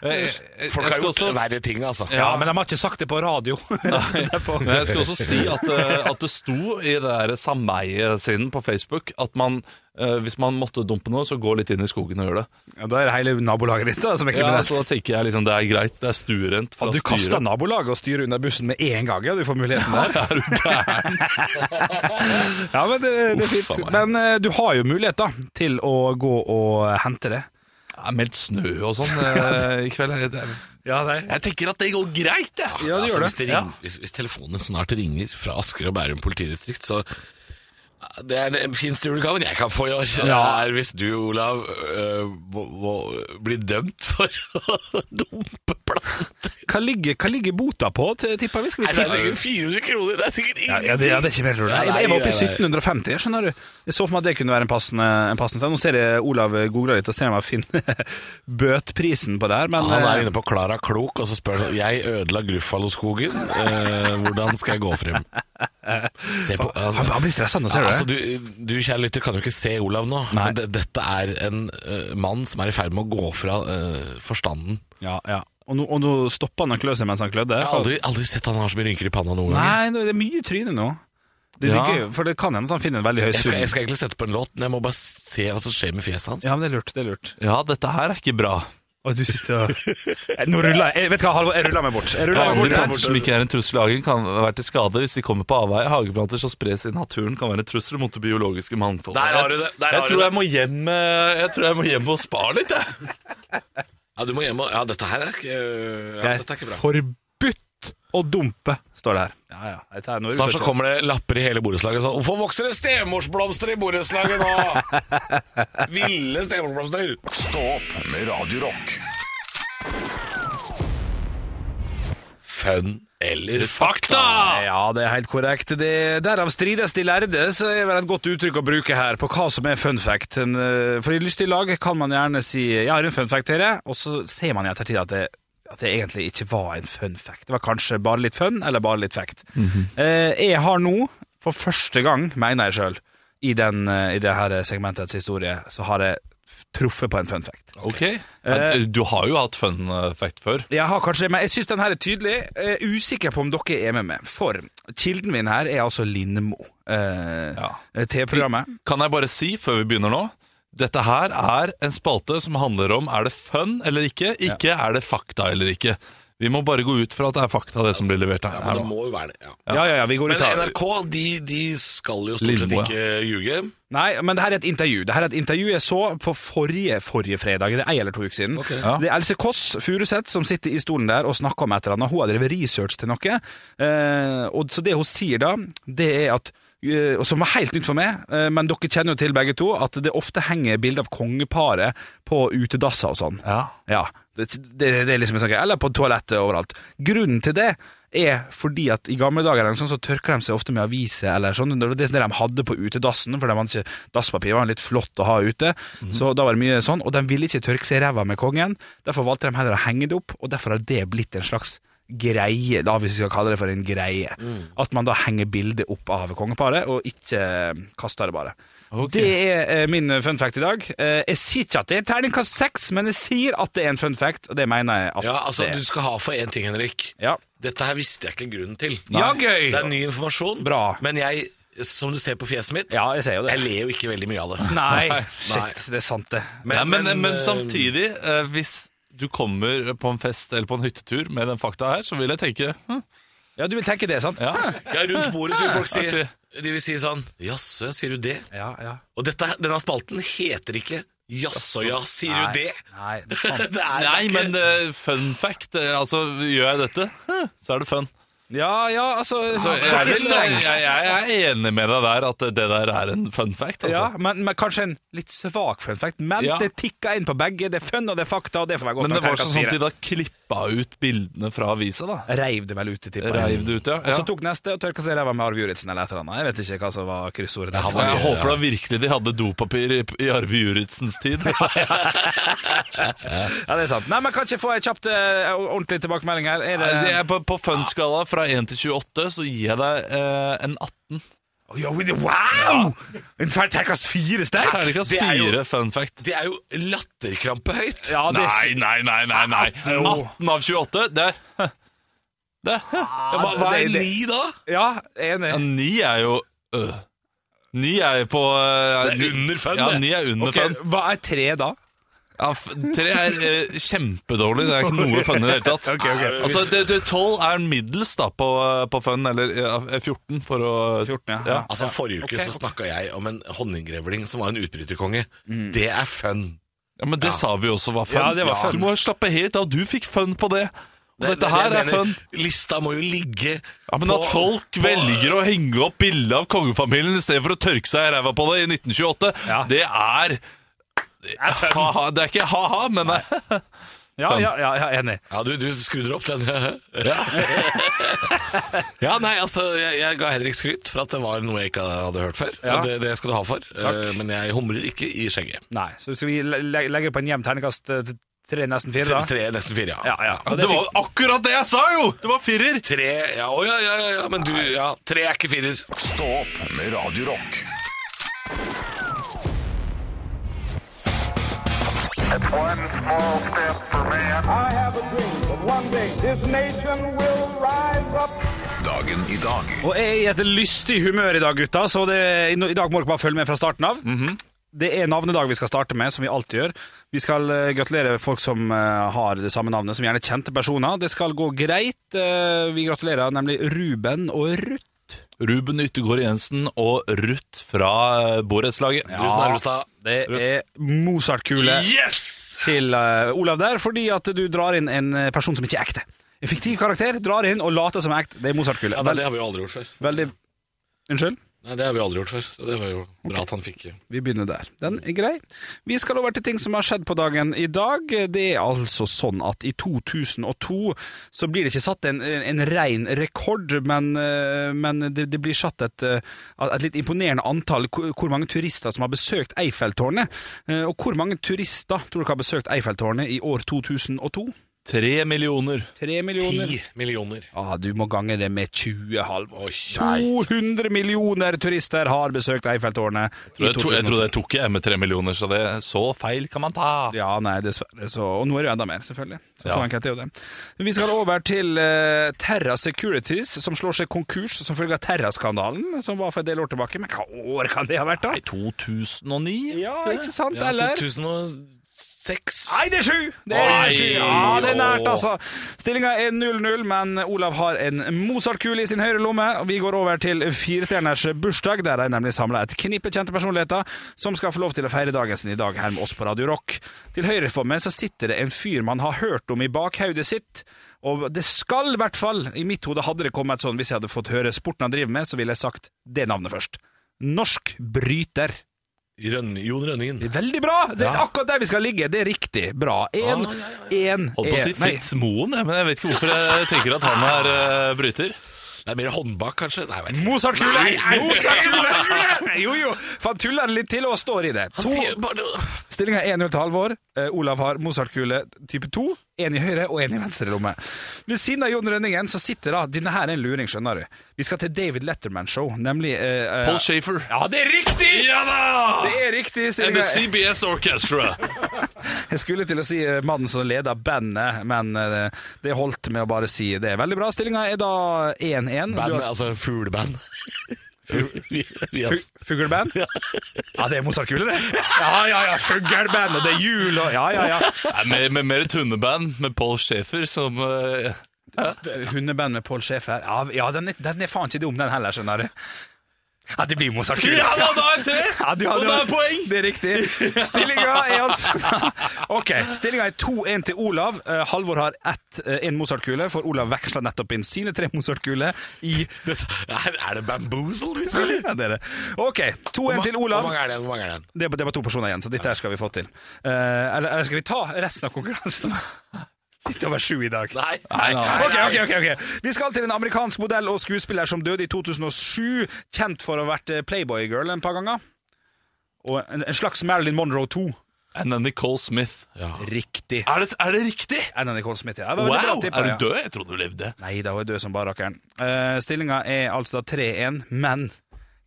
Speaker 5: eh, jeg
Speaker 3: Folk har
Speaker 5: skal
Speaker 3: gjort
Speaker 5: også-
Speaker 3: verre ting, altså.
Speaker 4: Ja, men de har ikke sagt det på radio. Det er på-
Speaker 5: Men jeg skal også si at, eh, at det sto i det der sameiesiden på Facebook at man, eh, hvis man måtte dumpe noe, så gå litt inn i skogen og gjør det.
Speaker 4: Ja, da er det hele nabolaget ditt da, som er
Speaker 5: Ja,
Speaker 4: kriminelt.
Speaker 5: så da tenker jeg liksom, det er greit, det er stuerent fra
Speaker 4: Hadde du kasta
Speaker 5: styret.
Speaker 4: nabolaget og styret under bussen med en gang, ja, du får muligheten der.
Speaker 5: Er du gæren?
Speaker 4: Ja, men det, det er
Speaker 5: Uff,
Speaker 4: fint.
Speaker 5: faen
Speaker 4: Men eh, du har jo mulighet da, til å gå og hente det.
Speaker 5: Jeg har meldt snø og sånn eh, i kveld. Jeg, jeg
Speaker 4: Ja, nei.
Speaker 5: tenker at det går greit, jeg. Ja.
Speaker 4: Ja, du
Speaker 3: altså,
Speaker 4: gjør
Speaker 3: hvis,
Speaker 4: det.
Speaker 3: det ring, hvis, hvis telefonen snart ringer fra Asker og Bærum politidistrikt, så det er den fineste julegaven jeg kan få i år. Det er hvis du, Olav, øh, må, må bli dømt for å dumpe planter.
Speaker 4: Hva ligger, hva ligger bota på, til- tipper jeg? Skal
Speaker 3: Nei,
Speaker 4: vi
Speaker 3: det er
Speaker 4: tippe?
Speaker 3: sikkert 400 kroner, det er sikkert
Speaker 4: Ja,
Speaker 3: ingenting.
Speaker 4: ja, det, ja, det er ikke mer tror jeg. Jeg, jeg var oppe i 1750, jeg skjønner du. Jeg så for meg at det kunne være en passende, en passende stand. Nå ser jeg Olav googler litt og ser om jeg finner bøtprisen på det her, men
Speaker 3: Han er
Speaker 4: eh,
Speaker 3: inne på Klara Klok, og så spør han Jeg ødela Gruffaloskogen, eh, hvordan skal jeg gå frem? Se på, altså-
Speaker 4: han, han blir stressa nå, ser
Speaker 3: Ja,
Speaker 4: du
Speaker 3: altså,
Speaker 4: det?
Speaker 3: du, du kjære lytter, kan jo ikke se Olav nå.
Speaker 4: Nei.
Speaker 3: Men det- Dette er en eh, mann som er i ferd med å gå fra eh, forstanden.
Speaker 4: Ja, ja. Og nå, og nå stopper han å klø seg mens han klødde.
Speaker 3: Jeg har aldri, aldri sett han har så mye rynker i panna noen gang.
Speaker 4: Nei, nå- det er mye tryne nå. Det, det
Speaker 5: Ja.
Speaker 4: er gøy, for det kan hende at han finner en veldig høy
Speaker 3: Jeg skal,
Speaker 4: sum.
Speaker 3: jeg skal egentlig sette på en låt, men jeg må bare se hva som skjer med fjeset hans.
Speaker 4: Ja, men det er lurt. det er lurt
Speaker 5: dette her er ikke bra.
Speaker 4: Og du sitter og Eh, Nå ruller jeg. jeg Vet du hva, Halvor, jeg ruller meg bort. Jeg ruller meg
Speaker 5: Andre
Speaker 4: bort, jeg.
Speaker 5: planter som ikke er en trussel i hagen, kan være til skade hvis de kommer på avveie. Hageplanter som spres i naturen, kan være en trussel mot det biologiske mangfoldet.
Speaker 3: Der har du det, der
Speaker 5: jeg,
Speaker 3: har du
Speaker 5: tror
Speaker 3: det.
Speaker 5: jeg, må hjem, eh, jeg tror jeg må hjem og spare litt, jeg.
Speaker 3: Ja, du må hjem og Ja, dette her er ikke, øh, ja,
Speaker 4: Det
Speaker 3: dette er ikke
Speaker 4: er
Speaker 3: bra.
Speaker 4: forbudt å dumpe, står det her. Ja, ja. Dette er- nå er vi
Speaker 3: Snart så
Speaker 4: først-
Speaker 3: kommer det lapper i hele borettslaget sånn Hvorfor vokser det stemorsblomster i borettslaget nå? Ville stemorsblomster!
Speaker 1: Stå opp med Radio Rock.
Speaker 3: Fun eller fakta?
Speaker 4: Ja, det er helt korrekt. Det, derav strides de lærde, så er vel et godt uttrykk å bruke her på hva som er fun fact. En, eh, For i lystig lag kan man gjerne si 'jeg har en fun fact til dere', og så ser man i ettertid at det, at det egentlig ikke var en fun fact. Det var kanskje bare litt fun, eller bare litt fact. Eh, Jeg har nå, for første gang, mener jeg sjøl, i, den, eh, i det her segmentets historie, så har jeg f- truffet på en fun fact.
Speaker 5: Ok.
Speaker 3: Eh,
Speaker 5: Men eh, Du har jo hatt fun eh, fact før.
Speaker 4: Jeg har kanskje det, men jeg syns den her er tydelig. Jeg er usikker på om dere er med meg. For kilden min her er altså Lindmo. Eh,
Speaker 5: Ja.
Speaker 4: TV-programmet.
Speaker 5: Kan jeg bare si, før vi begynner nå dette her er en spalte som handler om er det fun eller ikke, ikke er det fakta eller ikke. Vi må bare gå ut fra at det er fakta, det som blir levert her.
Speaker 3: Men
Speaker 5: her
Speaker 3: det
Speaker 5: nå.
Speaker 3: må jo være det. ja
Speaker 4: Ja, ja, ja, vi går
Speaker 3: Men
Speaker 4: ut av
Speaker 3: NRK de, de skal jo stort sett
Speaker 5: Lindmo, ja.
Speaker 3: ikke ljuge.
Speaker 4: Nei, men det her er et intervju. Det her er et intervju jeg så på forrige, forrige fredag. Det er ei eller to uker siden.
Speaker 5: Ja.
Speaker 4: Det er Else Kåss Furuseth som sitter i stolen der og snakker om et eller annet. Hun har drevet research til noe. Eh, og så det hun sier da, det er at eh, og som var helt nytt for meg, eh, men dere kjenner jo til begge to, at det ofte henger bilder av kongeparet på utedasser og sånn.
Speaker 5: Ja.
Speaker 4: Ja, det, det, det er liksom en sånn greie. Eller på toalettet overalt. Grunnen til det er fordi at i gamle dager eller noe sånt, så tørka de seg ofte med aviser eller sånn. Det var det som de hadde på utedassen, for de hadde ikke dasspapir. Det var litt flott å ha ute. Så da var det mye sånn. Og de ville ikke tørke seg i ræva med kongen. Derfor valgte de heller å henge det opp, og derfor har det blitt en slags greie, da hvis vi skal kalle det for en greie. At man da henger bildet opp av kongeparet, og ikke kaster det bare. Det er eh, min fun fact i dag. Eh, jeg sier ikke at det er terningkast seks, men jeg sier at det er en fun fact, og det mener jeg at
Speaker 3: Ja, altså
Speaker 4: det
Speaker 3: Du
Speaker 4: er.
Speaker 3: skal ha for én ting, Henrik.
Speaker 4: Ja.
Speaker 3: Dette her visste jeg ikke grunnen til.
Speaker 4: Ja, gøy!
Speaker 3: Det er ny informasjon,
Speaker 4: Bra.
Speaker 3: men jeg, som du ser på fjeset mitt,
Speaker 4: ja, jeg ser jo det.
Speaker 3: jeg ler jo ikke veldig mye av det.
Speaker 4: Nei,
Speaker 3: Nei.
Speaker 4: shit, det er sant, det.
Speaker 5: Men, men, men,
Speaker 3: eh,
Speaker 5: samtidig, eh, hvis du kommer på en fest eller på en hyttetur med den fakta her, så vil jeg tenke hm,
Speaker 4: Ja, du vil tenke det, sant?
Speaker 5: ja.
Speaker 3: Ja, rundt bordet så vil folk si
Speaker 5: Artig.
Speaker 3: De vil si sånn Jaså, sier du det?
Speaker 4: Ja, ja.
Speaker 3: Og dette, denne spalten heter ikke Jaså ja, sier
Speaker 4: Nei,
Speaker 3: du det?
Speaker 4: Nei, det
Speaker 3: Det er,
Speaker 4: er sant.
Speaker 3: det er
Speaker 5: Nei,
Speaker 3: ikke
Speaker 5: men eh, fun fact eh, Altså, gjør jeg dette, hm, så er det fun.
Speaker 4: Ja, ja, altså
Speaker 5: Så jeg,
Speaker 4: Ikke
Speaker 5: er vel-
Speaker 4: streng.
Speaker 5: jeg, jeg er enig med deg der at det der er en fun fact,
Speaker 4: Ja,
Speaker 5: altså.
Speaker 4: men, men kanskje en litt svak fun fact. Men
Speaker 5: Ja.
Speaker 4: det tikka inn på begge. Det er fun, og det er fakta, og det får være godt.
Speaker 5: Men det
Speaker 4: nok,
Speaker 5: var sånn
Speaker 4: terningkast
Speaker 5: at de
Speaker 4: fire.
Speaker 5: da klippa ut bildene fra avisa, da.
Speaker 4: Reiv det vel ut i tippa.
Speaker 5: Reiv det ut, ja.
Speaker 4: Og
Speaker 5: ja.
Speaker 4: så tok neste og tørka seg i ræva med Arve Juritzen eller et eller annet. Jeg vet ikke hva som var kryssordet.
Speaker 3: Ja, han
Speaker 5: Og
Speaker 3: var-
Speaker 5: Jeg håper da virkelig de hadde dopapir i, i Arve Juritzens tid.
Speaker 4: Ja, det er sant. Nei, men kan ikke få en kjapt eh, ordentlig tilbakemelding her? Er det,
Speaker 5: Altså, jeg, er på på fun-skala fra 1 til 28 så gir jeg deg eh, en 18.
Speaker 4: Oi, oi, det- wow! En feil terningkast fire sterk!
Speaker 5: Terningkast
Speaker 3: det er jo-
Speaker 5: fire fun fact.
Speaker 3: Det er jo latterkrampehøyt.
Speaker 4: Ja, det,
Speaker 5: Nei, nei, nei, nei, nei.
Speaker 4: Jo.
Speaker 5: 18 av 28, det Det
Speaker 3: Hva, hva er
Speaker 4: det- det-
Speaker 3: ni da?
Speaker 4: ja, enig.
Speaker 5: ja, 9 er jo øh. 9 er jo på eh,
Speaker 3: Det er under fun,
Speaker 5: Ja,
Speaker 3: det.
Speaker 5: 9 er under
Speaker 4: Ok,
Speaker 5: fun.
Speaker 4: hva er tre da?
Speaker 5: Ja, f- tre er eh, kjempedårlig. Det er ikke noe fun i det hele tatt.
Speaker 3: ok.
Speaker 5: Altså, det, det, 12 er middels da på, på fun, eller eh, 14 for å
Speaker 4: 14, ja.
Speaker 3: Altså Forrige uke
Speaker 4: Ok,
Speaker 3: så
Speaker 4: ok.
Speaker 3: snakka jeg om en honninggrevling som var en utbryterkonge.
Speaker 5: Mm.
Speaker 3: Det er fun.
Speaker 5: Ja, men det sa vi også var fun.
Speaker 4: Ja, det var fun.
Speaker 5: Du må jo slappe helt av. Du fikk fun på det. Og
Speaker 3: Det- det-
Speaker 5: dette her
Speaker 3: det jeg mener.
Speaker 5: er fun.
Speaker 3: Lista må jo ligge
Speaker 5: Ja, Men at folk velger å henge opp bilde av kongefamilien i stedet for å tørke seg i ræva på det i 1928,
Speaker 4: Ja.
Speaker 5: det er ha-ha. Det er ikke ha-ha, men det er
Speaker 4: Ja, ja, ja, ja enig.
Speaker 3: Ja, du, du skrudder opp den. ja. ja, nei, altså jeg, jeg ga Henrik skryt for at det var noe jeg ikke hadde hørt før.
Speaker 4: Ja.
Speaker 3: Og Det, det skal du ha for. Eh, Men jeg humrer ikke i skjegget.
Speaker 4: Nei, så skal vi le le- legge på en jevn terningkast eh, til tre, nesten fire da?
Speaker 3: Tre, nesten fire, ja.
Speaker 4: Ja, ja. Og
Speaker 5: Det var akkurat det jeg sa, jo! Det var firer.
Speaker 3: Tre, ja, å, ja, ja, ja, ja, men du, ja, tre er ikke firer.
Speaker 1: Stå opp med Radio Rock.
Speaker 6: One small step for man.
Speaker 7: I have a dream that one day this nation will rise up.
Speaker 1: Dagen i dag
Speaker 4: Og jeg er i et lystig humør i dag, gutta, så det, i, no- i dag må dere bare følge med fra starten av. Det er navnedag vi skal starte med, som vi alltid gjør. Vi skal eh, gratulere folk som eh, har det samme navnet, som gjerne er kjente personer. Det skal gå greit. Eh, vi gratulerer nemlig Ruben og Ruth.
Speaker 5: Ruben Yttergård Jensen og Ruth fra eh, borettslaget.
Speaker 3: Ruth Nervestad.
Speaker 4: Det er Mozart-kule
Speaker 5: Yes!
Speaker 4: til eh, Olav der, fordi at du drar inn en eh, person som ikke er ekte. En fiktiv karakter drar inn og later som er ekte. Det er Mozart-kule.
Speaker 3: Ja, nei, det har vi jo aldri gjort før. Så-
Speaker 4: Veldig Unnskyld?
Speaker 3: Nei, det har vi aldri gjort før, så det var jo bra at han fikk
Speaker 4: Vi begynner der. Den er grei. Vi skal over til ting som har skjedd på dagen i dag. Det er altså sånn at i 2002 så blir det ikke satt en, en, en rein rekord, men, eh, men det, det blir satt et, eh, et litt imponerende antall hvor hvor mange turister som har besøkt Eiffeltårnet. Eh, Og hvor mange turister tror dere har besøkt Eiffeltårnet i år 2002?
Speaker 5: Tre millioner.
Speaker 4: Tre millioner?
Speaker 3: ti millioner.
Speaker 4: Ah, du må gange det med 20, Halvor.
Speaker 3: Oi.
Speaker 4: 200 millioner turister har besøkt Eiffeltårnet. i
Speaker 5: Jeg tror, jeg
Speaker 4: 2002.
Speaker 5: tror det tok jeg med tre millioner, så det så feil kan man ta.
Speaker 4: Ja, nei, dessverre. Så, og nå er det jo enda mer, selvfølgelig. Så, så
Speaker 5: Ja.
Speaker 4: enkelt er jo det. Vi skal over til eh, Terra Securities, som slår seg konkurs som følge av Terra-skandalen, som var for en del år tilbake. Men hva år kan det ha vært, da?
Speaker 5: 2009?
Speaker 4: Ja, ikke sant,
Speaker 3: Ja,
Speaker 4: eller?
Speaker 3: 2006.
Speaker 4: Nei, det er sju! Det er
Speaker 5: Oi,
Speaker 4: sju. Ja, det er nært,
Speaker 5: åh.
Speaker 4: altså. Stillinga er 0-0, men Olav har en Mozart-kule i sin høyre lomme. og Vi går over til firestjerners bursdag, der de nemlig samla et knippe kjente personligheter som skal få lov til å feire dagen sin i dag her med oss på Radio Rock. Til høyre for meg så sitter det en fyr man har hørt om i bakhodet sitt. Og det skal i hvert fall, i mitt hode hadde det kommet sånn hvis jeg hadde fått høre sporten han driver med, så ville jeg sagt det navnet først. Norsk bryter.
Speaker 3: Rønn, Jon Rønningen.
Speaker 4: Veldig bra! Det er akkurat der vi skal ligge. Det er riktig bra. Én, én,
Speaker 5: Holdt på å si Fitzmoen, jeg, men jeg vet ikke hvorfor jeg tenker at han er eh, bryter.
Speaker 3: Det er mer håndbak, kanskje? Nei, jeg vet ikke.
Speaker 4: Mozart-kule!
Speaker 3: Nei, nei, nei.
Speaker 4: Mozart-kule! Jo, jo. For han tuller litt til og står i det.
Speaker 3: Han
Speaker 4: To-
Speaker 3: sier bare
Speaker 4: Stillinga er 1-0 til Halvor. Eh, Olav har Mozart-kule type 2. Én i høyre og én i venstre lomme. Ved siden av Jon Rønningen så sitter da Denne her er en luring, skjønner du. Vi skal til David Letterman-show, nemlig eh, eh,
Speaker 5: Paul Shafer.
Speaker 4: Ja, det er riktig!
Speaker 5: Ja da!
Speaker 4: Det er riktig.
Speaker 5: And the
Speaker 4: Stillinga
Speaker 5: CBS Orchestra.
Speaker 4: Jeg skulle til å si eh, mannen som leder bandet, men eh, det holdt med å bare si det. Veldig bra. Stillinga er da 1-1. Du
Speaker 3: band,
Speaker 4: har-
Speaker 3: altså fugleband. Vi- vi har-
Speaker 4: Fu- Fugleband? Ja, det er Mozart-kule, det. Ja, ja, ja. Fugleband, og det er jul, og ja, ja, ja.
Speaker 5: Nei, med, med mer et hundeband med Paul Shafer som eh,
Speaker 4: Hundeband med Pål Schæfer. Ja, ja den, er, den er faen ikke dum, den heller, skjønner du. Ja, det blir Mozart-kule.
Speaker 5: Ja da, da er det
Speaker 4: Ja, du
Speaker 5: Og
Speaker 4: hadde-
Speaker 5: da er poeng!
Speaker 4: Det er riktig. Stillinga er altså Ok, stillinga er 2-1 til Olav. Eh, Halvor har ett, eh, en Mozart-kule, for Olav veksla nettopp inn sine tre Mozart-kuler i
Speaker 3: Dette- Er, er det bamboozled vi spiller?
Speaker 4: Ja, det er det. Ok, 2-1 til
Speaker 3: Hvor
Speaker 4: Olav.
Speaker 3: mange er det? Hvor mange er det?
Speaker 4: Det er bare- det er bare to personer igjen, så dette her skal vi få til. Eh, eller, eller skal vi ta resten av konkurransen? Litt over sju i dag.
Speaker 3: Nei.
Speaker 4: Ok, ok, ok, ok. Vi skal til en amerikansk modell og skuespiller som døde i 2007, kjent for å ha vært eh, Playboy-girl en par ganger. Og en, en slags Marilyn Monroe 2.
Speaker 5: And then Nicole Smith.
Speaker 4: Riktig.
Speaker 5: Er, det, er det riktig?
Speaker 4: Anna Nicole Smith, ja. Det var veldig bra
Speaker 5: Wow!
Speaker 4: tippa,
Speaker 5: Er
Speaker 4: ja.
Speaker 5: du død? Jeg trodde du levde.
Speaker 4: Nei da, hun er død som bare rakkeren. Uh, Stillinga er altså da 3-1, men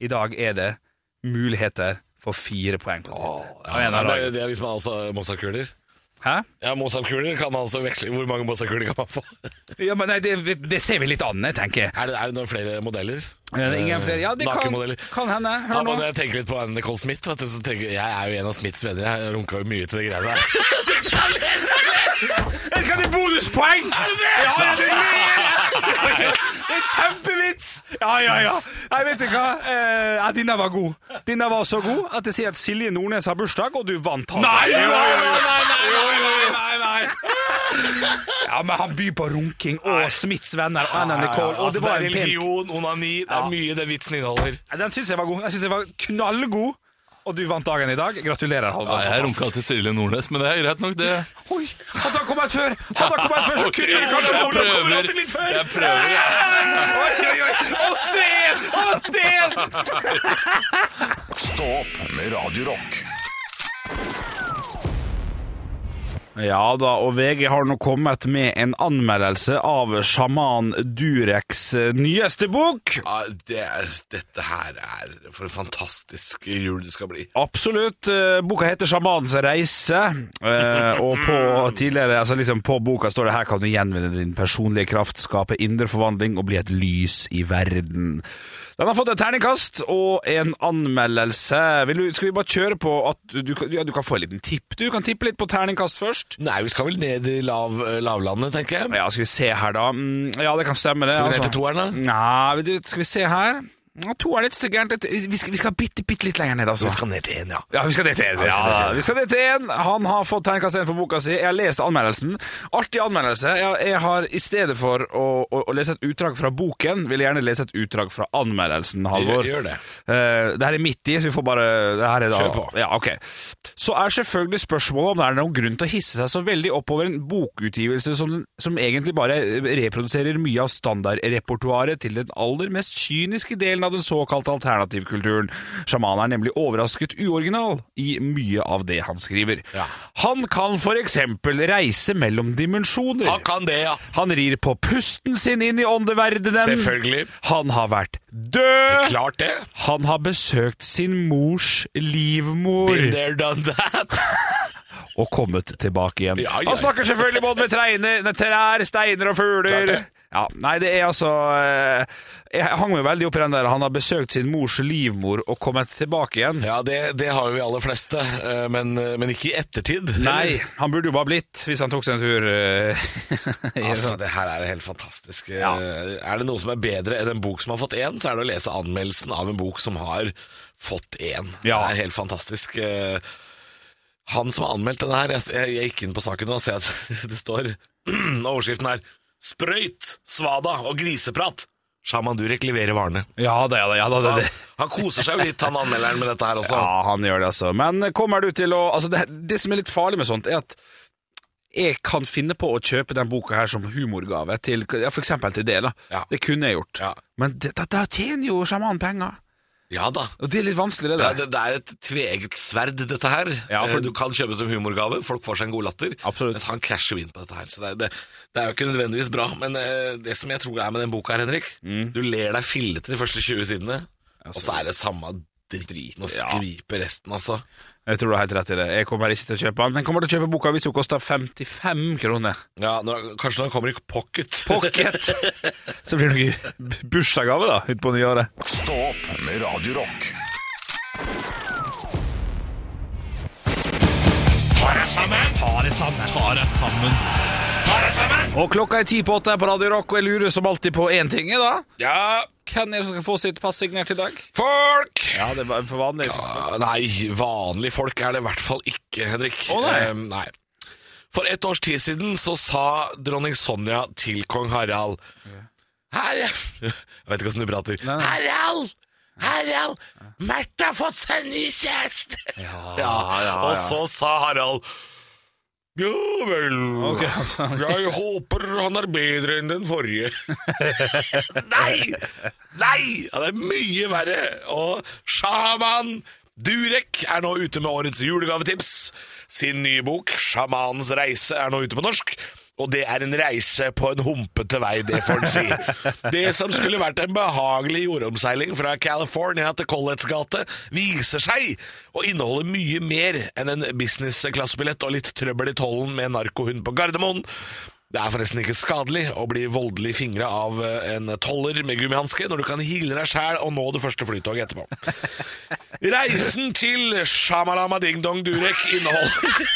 Speaker 4: i dag er det muligheter for fire poeng på siste.
Speaker 3: Ja, nei, det, er jo det er hvis man også har Mozart-kuler.
Speaker 4: Hæ?
Speaker 3: Ja, Mozart-kuler kan man altså veksle Hvor mange Mozart-kuler kan man få?
Speaker 4: Ja, men nei, det, det ser vi litt an, jeg tenker.
Speaker 3: Er det, er det noen flere modeller?
Speaker 4: Er det Ingen
Speaker 3: Eh,
Speaker 4: flere. Ja, det kan,
Speaker 3: Nakenmodeller.
Speaker 4: kan hende.
Speaker 3: Ja,
Speaker 4: Hør nå.
Speaker 3: men jeg tenker litt på Anne Nicole Smith. Vet du, så tenker, jeg jeg er jo en av Smiths venner. Jeg runka jo mye til de greiene der.
Speaker 4: Jeg skal til bonuspoeng! Er det det? Ja, ja, det er det! Det er kjempevits! Ja, ja, ja. Nei, vet du hva? Eh, ja, Denne var god. Denne var så god at jeg sier at Silje Nordnes har bursdag, og du vant han.
Speaker 5: Nei,
Speaker 4: Jo, jo, jo.
Speaker 5: nei,
Speaker 4: Ja, men han byr på runking og Smiths venner
Speaker 5: Ah,
Speaker 4: og Anna Nicole, og
Speaker 5: altså,
Speaker 4: det var en pen
Speaker 3: religion, onani, det er mye det vitsen inneholder.
Speaker 4: Ja, Den syns jeg var god. Jeg syns jeg var knallgod. Og du vant dagen i dag. Gratulerer, Halvor.
Speaker 5: Nei, jeg runka til Silje Nordnes, men det er greit nok, det.
Speaker 4: Oi, hadde han kommet før, hadde han kommet før, så kunne
Speaker 5: Jeg
Speaker 4: vi kanskje
Speaker 5: prøver.
Speaker 4: Olav kommer alltid litt før.
Speaker 5: Jeg prøver.
Speaker 4: Oi, oi, oi. 81! 81!
Speaker 1: Stå opp med Radio Rock.
Speaker 4: Ja da, og VG har nå kommet med en anmeldelse av sjaman Dureks eh, nyeste bok.
Speaker 3: Ja, det er, dette her er for en fantastisk jul det skal bli.
Speaker 4: Absolutt. Eh, Boka heter 'Sjamanens reise', eh, og
Speaker 3: Mm.
Speaker 4: på, tidligere, altså liksom på boka står det 'Her kan du gjenvinne din personlige kraft, skape indre forvandling og bli et lys i verden'. Den har fått et terningkast og en anmeldelse. Vil du, skal vi bare kjøre på at du, kan- ja, du kan få en liten tipp? Du kan tippe litt på terningkast først.
Speaker 3: Nei, vi skal vel ned i lav, lavlandet, tenker jeg.
Speaker 4: Ja, skal vi se her, da. Mm, Ja, det kan stemme, det.
Speaker 3: Skal vi ned
Speaker 4: altså.
Speaker 3: til toeren, da?
Speaker 4: Nei, vet du, skal vi se her. Ja, To er litt så gærent. Vi skal, vi skal bitte, bitte litt lenger ned, altså.
Speaker 3: Vi skal ned til én, ja.
Speaker 4: Ja, vi skal det til en.
Speaker 3: vi skal det til
Speaker 4: Ja,
Speaker 3: en.
Speaker 4: vi skal det til en. Han har fått terningkast én for boka si. Jeg har lest anmeldelsen. Artig anmeldelse. Jeg, jeg har i stedet for å, å, å lese et utdrag fra boken, vil jeg gjerne lese et utdrag fra anmeldelsen, Halvor.
Speaker 3: Gjør- gjør det.
Speaker 4: Eh, det her er midt i, så vi får bare det her er da,
Speaker 3: Kjør på.
Speaker 4: Ja, ok. Så er selvfølgelig spørsmålet om det er noen grunn til å hisse seg så veldig opp over en bokutgivelse som, som egentlig bare reproduserer mye av standardrepertoaret til den aller mest kyniske delen av den såkalte alternativkulturen. Sjaman er nemlig overrasket uoriginal i mye av det han skriver. Han kan for eksempel reise mellom dimensjoner.
Speaker 3: Han kan det, ja.
Speaker 4: Han rir på pusten sin inn i åndeverdenen.
Speaker 3: Selvfølgelig.
Speaker 4: Han har vært død.
Speaker 3: Klart det.
Speaker 4: Han har besøkt sin mors livmor
Speaker 3: Been there, done that.
Speaker 4: og kommet tilbake igjen.
Speaker 3: Ja, ja, ja.
Speaker 4: Han snakker selvfølgelig både med treiner, nei, trær, steiner og
Speaker 3: Klart
Speaker 4: fugler.
Speaker 3: det.
Speaker 4: Ja, nei, det er altså eh, Jeg hang meg veldig opp i den der. Han har besøkt sin mors livmor og kommet tilbake igjen.
Speaker 3: Ja, det, det har jo vi aller fleste, eh, men, men ikke i ettertid.
Speaker 4: Nei, han burde jo bare blitt, hvis han tok seg en tur eh, i en
Speaker 3: Altså,
Speaker 4: sånn-
Speaker 3: det her er helt fantastisk. Eh, Er det noe som er bedre enn en bok som har fått én, så er det å lese anmeldelsen av en bok som har fått én.
Speaker 4: Ja.
Speaker 3: Det er helt fantastisk. Eh, Han som har anmeldt denne her, jeg, jeg, jeg gikk inn på saken nå og ser at det står Overskriften er 'Sprøyt, svada og griseprat'. Shaman Durek leverer varene.
Speaker 4: Ja da, ja da. Ja, da
Speaker 3: Så
Speaker 4: det,
Speaker 3: han,
Speaker 4: det.
Speaker 3: han koser seg jo litt, han anmelderen, med dette her også.
Speaker 4: Ja, han gjør det, altså. Men kommer du til å altså det, det som er litt farlig med sånt, er at jeg kan finne på å kjøpe den boka her som humorgave, til, ja, for eksempel til det. da.
Speaker 3: Ja.
Speaker 4: Det kunne jeg gjort.
Speaker 3: Ja.
Speaker 4: Men det- da da tjener jo sjamanen penger.
Speaker 3: Ja da.
Speaker 4: Og det er litt vanskelig, det
Speaker 3: Ja,
Speaker 4: der.
Speaker 3: det, det er et tveegget sverd, dette her.
Speaker 4: Ja, for-
Speaker 3: Eh, Du kan kjøpe som humorgave, folk får seg en god latter.
Speaker 4: Absolutt.
Speaker 3: Mens han casher jo inn på dette her. Så det, er- det, det er jo ikke nødvendigvis bra. Men eh, det som jeg tror er med den boka her, Henrik
Speaker 4: Mm.
Speaker 3: Du ler deg fillete de første 20 sidene, og så er det samme driten og
Speaker 4: Ja.
Speaker 3: skvipet resten, altså.
Speaker 4: Jeg tror du har helt rett i det. Jeg kommer ikke til å kjøpe den. Jeg kommer til å kjøpe boka hvis hun koster 55 kroner.
Speaker 3: Ja, når, kanskje når han kommer i pocket.
Speaker 4: Pocket! Så blir det noe b- bursdagsgave, da, utpå nyåret.
Speaker 1: Stå opp med Radio Rock.
Speaker 4: Og klokka er ti på åtte her på Radio Rock, og jeg lurer som alltid på én ting, jeg, da.
Speaker 3: Ja,
Speaker 4: Hvem er det som skal få sitt pass signert i dag?
Speaker 3: folk!
Speaker 4: Ja, det var for vanlig.
Speaker 3: Ah, Nei, vanlige folk er det i hvert fall ikke, Henrik.
Speaker 4: Å, nei.
Speaker 3: Eh, nei. For et års tid siden så sa dronning Sonja til kong Harald Harald Jeg vet ikke åssen du prater.
Speaker 4: nei.
Speaker 3: Harald! Harald! Märtha har fått seg ny kjæreste! Ja,
Speaker 4: ja, ja.
Speaker 3: Og så sa Harald Ja vel.
Speaker 4: Ok, altså.
Speaker 3: Jeg håper han er bedre enn den forrige. Nei! Nei! Ja, det er mye verre. Og sjaman Durek er nå ute med årets julegavetips. Sin nye bok 'Sjamanens reise' er nå ute på norsk. Og det er en reise på en humpete vei, det får en si. Det som skulle vært en behagelig jordomseiling fra California til Colletts gate, viser seg å inneholde mye mer enn en business-klassebillett og litt trøbbel i tollen med en narkohund på Gardermoen. Det er forresten ikke skadelig å bli voldelig fingra av eh, en toller med gummihanske når du kan hile deg sjæl og nå det første flytoget etterpå. Reisen til Shamalama Ding Dong Durek inneholder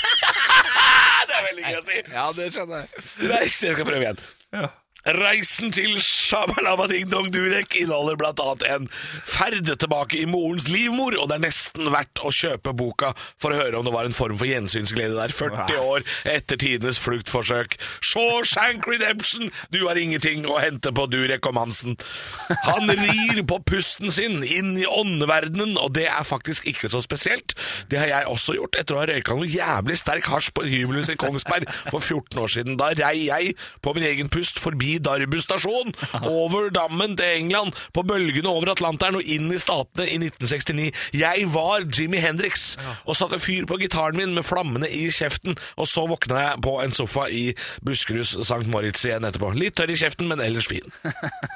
Speaker 3: Det er veldig gøy å si.
Speaker 4: Ja, det skjønner jeg.
Speaker 3: Reisen, jeg skal prøve igjen. Reisen til Shabalama Ding Dong Durek inneholder blant annet en ferd tilbake i morens livmor, og det er nesten verdt å kjøpe boka for å høre om det var en form for gjensynsglede der 40 år etter tidenes fluktforsøk. Shawshank Redemption, du har ingenting å hente på Durek og Mamsen. Han rir på pusten sin inn i åndeverdenen, og det er faktisk ikke så spesielt. Det har jeg også gjort etter å ha røyka noe jævlig sterk hasj på et hybelhus i Kongsberg for 14 år siden. Da rei jeg på min egen pust forbi Darbu stasjon, over dammen til England, på bølgene over Atlanteren og inn i statene i 1969. Jeg var Jimmy Hendrix og satte fyr på gitaren min med flammene i kjeften, og så våkna jeg på en sofa i Buskeruds St. Moritz igjen etterpå. Litt tørr i kjeften, men ellers fin.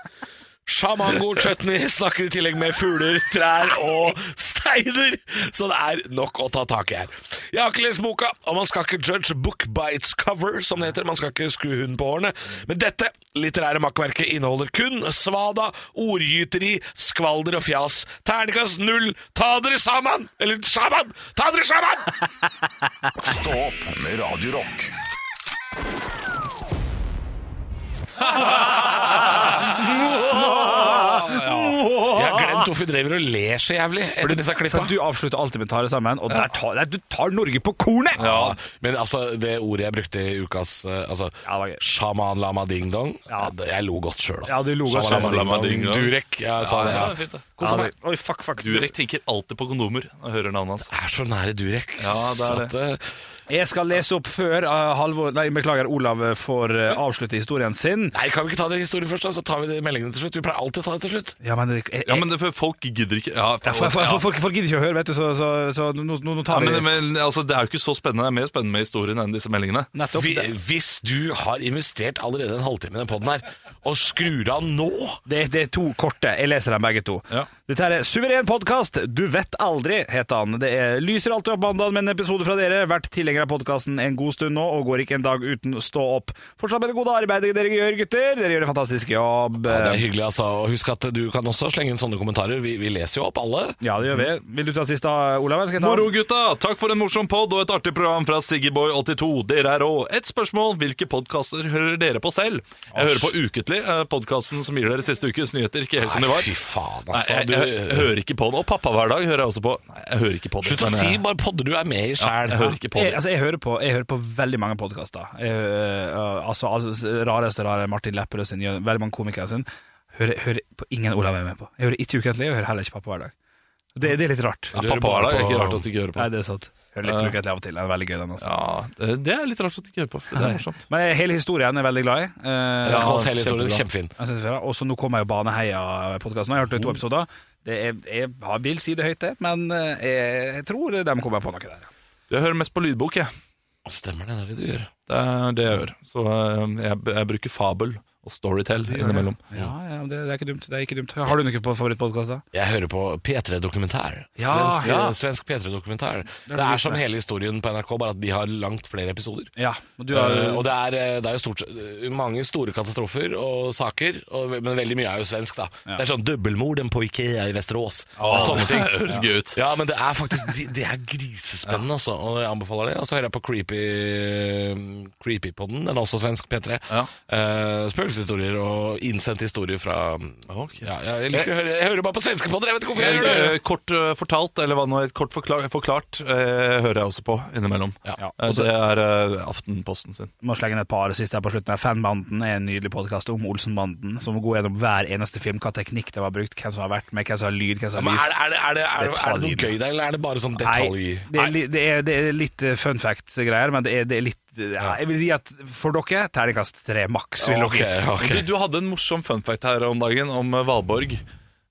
Speaker 3: Sjamango chutney snakker i tillegg med fugler, trær og steiner, så det er nok å ta tak i her. Jeg har ikke lest boka, og man skal ikke judge book by its cover, som det heter. Man skal ikke skru hunden på årene. Men dette litterære makkverket inneholder kun svada, ordgyteri, skvalder og fjas. Terningkast null! Ta dere sammen! Eller sammen! Ta dere sammen!
Speaker 1: Stå opp med Radio Rock.
Speaker 3: Jeg har glemt hvorfor vi driver og ler så jævlig etter disse klippa.
Speaker 4: For du avslutter alltid med å ta det sammen, og der tar, der, du tar Norge på kornet!
Speaker 3: Ja, men altså, det ordet jeg brukte i ukas eh, altså,
Speaker 4: Ja, det var gøy.
Speaker 3: Shaman lama ding dong
Speaker 4: Ja.
Speaker 3: eh, Jeg lo godt sjøl, altså.
Speaker 4: Ja, du lo godt
Speaker 3: Shaman
Speaker 4: selv.
Speaker 3: lama ding
Speaker 5: Ding
Speaker 3: dong.
Speaker 5: dong.
Speaker 3: Durek. Jeg sa det,
Speaker 5: Ja, det er
Speaker 3: ja.
Speaker 5: fint, det.
Speaker 4: Ja, det- Oi, fuck, fuck.
Speaker 5: Durek tenker alltid på kondomer når jeg hører navnet hans.
Speaker 3: Jeg er så nære Durek.
Speaker 5: Ja, det er
Speaker 3: så
Speaker 5: det.
Speaker 3: at, eh,
Speaker 4: Jeg skal lese opp før eh, Halvor Nei, beklager, Olav eh, får eh, avslutte historien sin.
Speaker 3: Nei, kan vi ikke ta det historien først, da? Så tar vi det i meldingene til slutt. Vi pleier alltid å ta det til slutt.
Speaker 4: Ja, men, jeg, jeg,
Speaker 5: Ja, men det, for folk gidder ikke ja,
Speaker 4: Ja, for, for, for, folk, folk gidder ikke å høre, vet du, så, så, så nå, nå, nå
Speaker 5: Ja,
Speaker 4: tar vi
Speaker 5: men, men altså, Det er jo ikke så spennende. Det er mer spennende med historien enn disse meldingene.
Speaker 4: nettopp
Speaker 3: Vi,
Speaker 4: det.
Speaker 3: hvis du har investert allerede en halvtime i den poden her, og skrur av nå
Speaker 4: Det, det er to korte. Jeg leser dem begge to.
Speaker 5: Ja.
Speaker 4: Dette her er Suveren podkast. Du vet aldri, heter han. Det er, lyser alltid opp mandagen med en episode fra dere. Vært tilhenger av podkasten en god stund nå, og går ikke en dag uten å stå opp. Fortsatt med det gode arbeidet dere gjør, gutter. Dere gjør en fantastisk jobb.
Speaker 3: ja, Det er hyggelig, altså. Og husk at du kan også slenge inn sånne kommentarer. Vi, vi leser jo opp alle.
Speaker 4: Ja, det gjør vi. Vil du ta sist, da, Olav? eller Skal jeg ta?
Speaker 5: Moro, gutta! Takk for en morsom pod og et artig program fra Siggyboy82. Dere er rå. Et spørsmål hvilke podkaster hører dere på selv? Jeg hører på Uketlig, podkasten som gir dere siste ukes nyheter. Ikke helt som de
Speaker 3: Nei,
Speaker 5: var.
Speaker 3: fy faen,
Speaker 5: Nei,
Speaker 3: altså.
Speaker 5: jeg, jeg, jeg hører ikke på det. Og Pappa hver dag hører jeg også på. Nei, jeg hører ikke på
Speaker 3: du,
Speaker 5: det.
Speaker 3: slutt å
Speaker 5: men
Speaker 3: si
Speaker 5: jeg-
Speaker 3: bare podder du er med i
Speaker 5: jeg
Speaker 3: sjæl.
Speaker 5: hører ikke på
Speaker 4: Jeg,
Speaker 5: det.
Speaker 4: altså, jeg, hører på, jeg hører på veldig mange podkaster. Altså, altså, rareste rare Martin Lepperød sin, gjør- veldig mange komikere sin. Hører, hører på ingen Olav er med på. Jeg hører ikke Ukentlig, og jeg hører heller ikke Pappa hver dag. Det, det er litt rart.
Speaker 5: Ja,
Speaker 3: hører
Speaker 5: pappa
Speaker 3: bare
Speaker 5: hver dag er
Speaker 3: på-
Speaker 5: ikke rart at du ikke hører
Speaker 4: Nei,
Speaker 5: på.
Speaker 4: det er sant. Hører litt på Ukentlig av og til. Den er veldig gøy, den også.
Speaker 5: Ja, det- Det er litt rart at du ikke hører på. for Det er morsomt.
Speaker 4: Men jeg- hele historien er jeg veldig glad i. Eh,
Speaker 3: Ja,
Speaker 5: Ja,
Speaker 3: oss hele historien.
Speaker 5: kjempebra.
Speaker 3: sånn Kjempefin.
Speaker 4: jeg synes det er bra. Og så nå kommer jo Baneheia-podkasten. Jeg har hørt to
Speaker 5: Oh.
Speaker 4: episoder. Det er, jeg har- vil si det høyt, det, men eh, jeg, jeg tror de kommer på noe der. ja.
Speaker 5: Jeg hører mest på lydbok, jeg.
Speaker 3: Stemmer det, det er det du gjør.
Speaker 5: Det er det jeg gjør. Så eh, jeg, jeg bruker fabel og storytell innimellom.
Speaker 4: Ja, ja det, det er ikke dumt. Det er ikke dumt. Har du noe på favorittpodkast, da?
Speaker 3: Jeg hører på P3-dokumentær.
Speaker 4: Ja,
Speaker 3: svensk
Speaker 4: ja.
Speaker 3: svensk P3-dokumentær. Det
Speaker 4: lurt,
Speaker 3: er som
Speaker 4: det.
Speaker 3: hele historien på NRK, bare at de har langt flere episoder.
Speaker 4: Ja, og du
Speaker 3: Eh, og det er, eh, det er jo stort sett, eh, mange store katastrofer og saker, og, ve- men veldig mye er jo svensk, da. Det er sånn dobbeltmorden på Ikea i Altså, Vesterås. det er sånne ting.
Speaker 5: høres gøy ut.
Speaker 3: Ja, men det er faktisk Det, det er grisespennende, altså. Og jeg anbefaler det. Og så hører jeg på Creepy mm, Creepypodden, den er også svensk, P3.
Speaker 5: Ja.
Speaker 3: Eh, spøkelseshistorier og innsendte historier fra mm, ja, jeg, liker, å høre- jeg hører bare på svenske podder, jeg vet ikke hvorfor jeg gjør det!
Speaker 5: Eh, Kort eh, fortalt, eller hva nå et kort forklart, forklart eh, hører jeg også på innimellom.
Speaker 3: Ja.
Speaker 5: Eh, det er eh, Aftenposten sin.
Speaker 4: må slenge inn et par siste her på slutten. her. Fanbanden er en nydelig podkast om Olsenbanden, som går gjennom hver eneste film, hva teknikk de har brukt, hvem som har vært med, hvem som har lyd, hvem som
Speaker 3: Men
Speaker 4: har
Speaker 3: er det, er,
Speaker 4: lys.
Speaker 3: det, er, det, er, det, er det noe
Speaker 4: Detaljer.
Speaker 3: gøy der, eller er det bare sånn
Speaker 4: Nei,
Speaker 3: detalj?
Speaker 4: det er, li- det, er, det er litt eh, fun fact-greier, men det er, det er litt ja, Jeg vil si at for dere terningkast tre maks, vil dere.
Speaker 3: Ok, ok.
Speaker 5: Du, du hadde en morsom funfact her om dagen om eh, Valborg,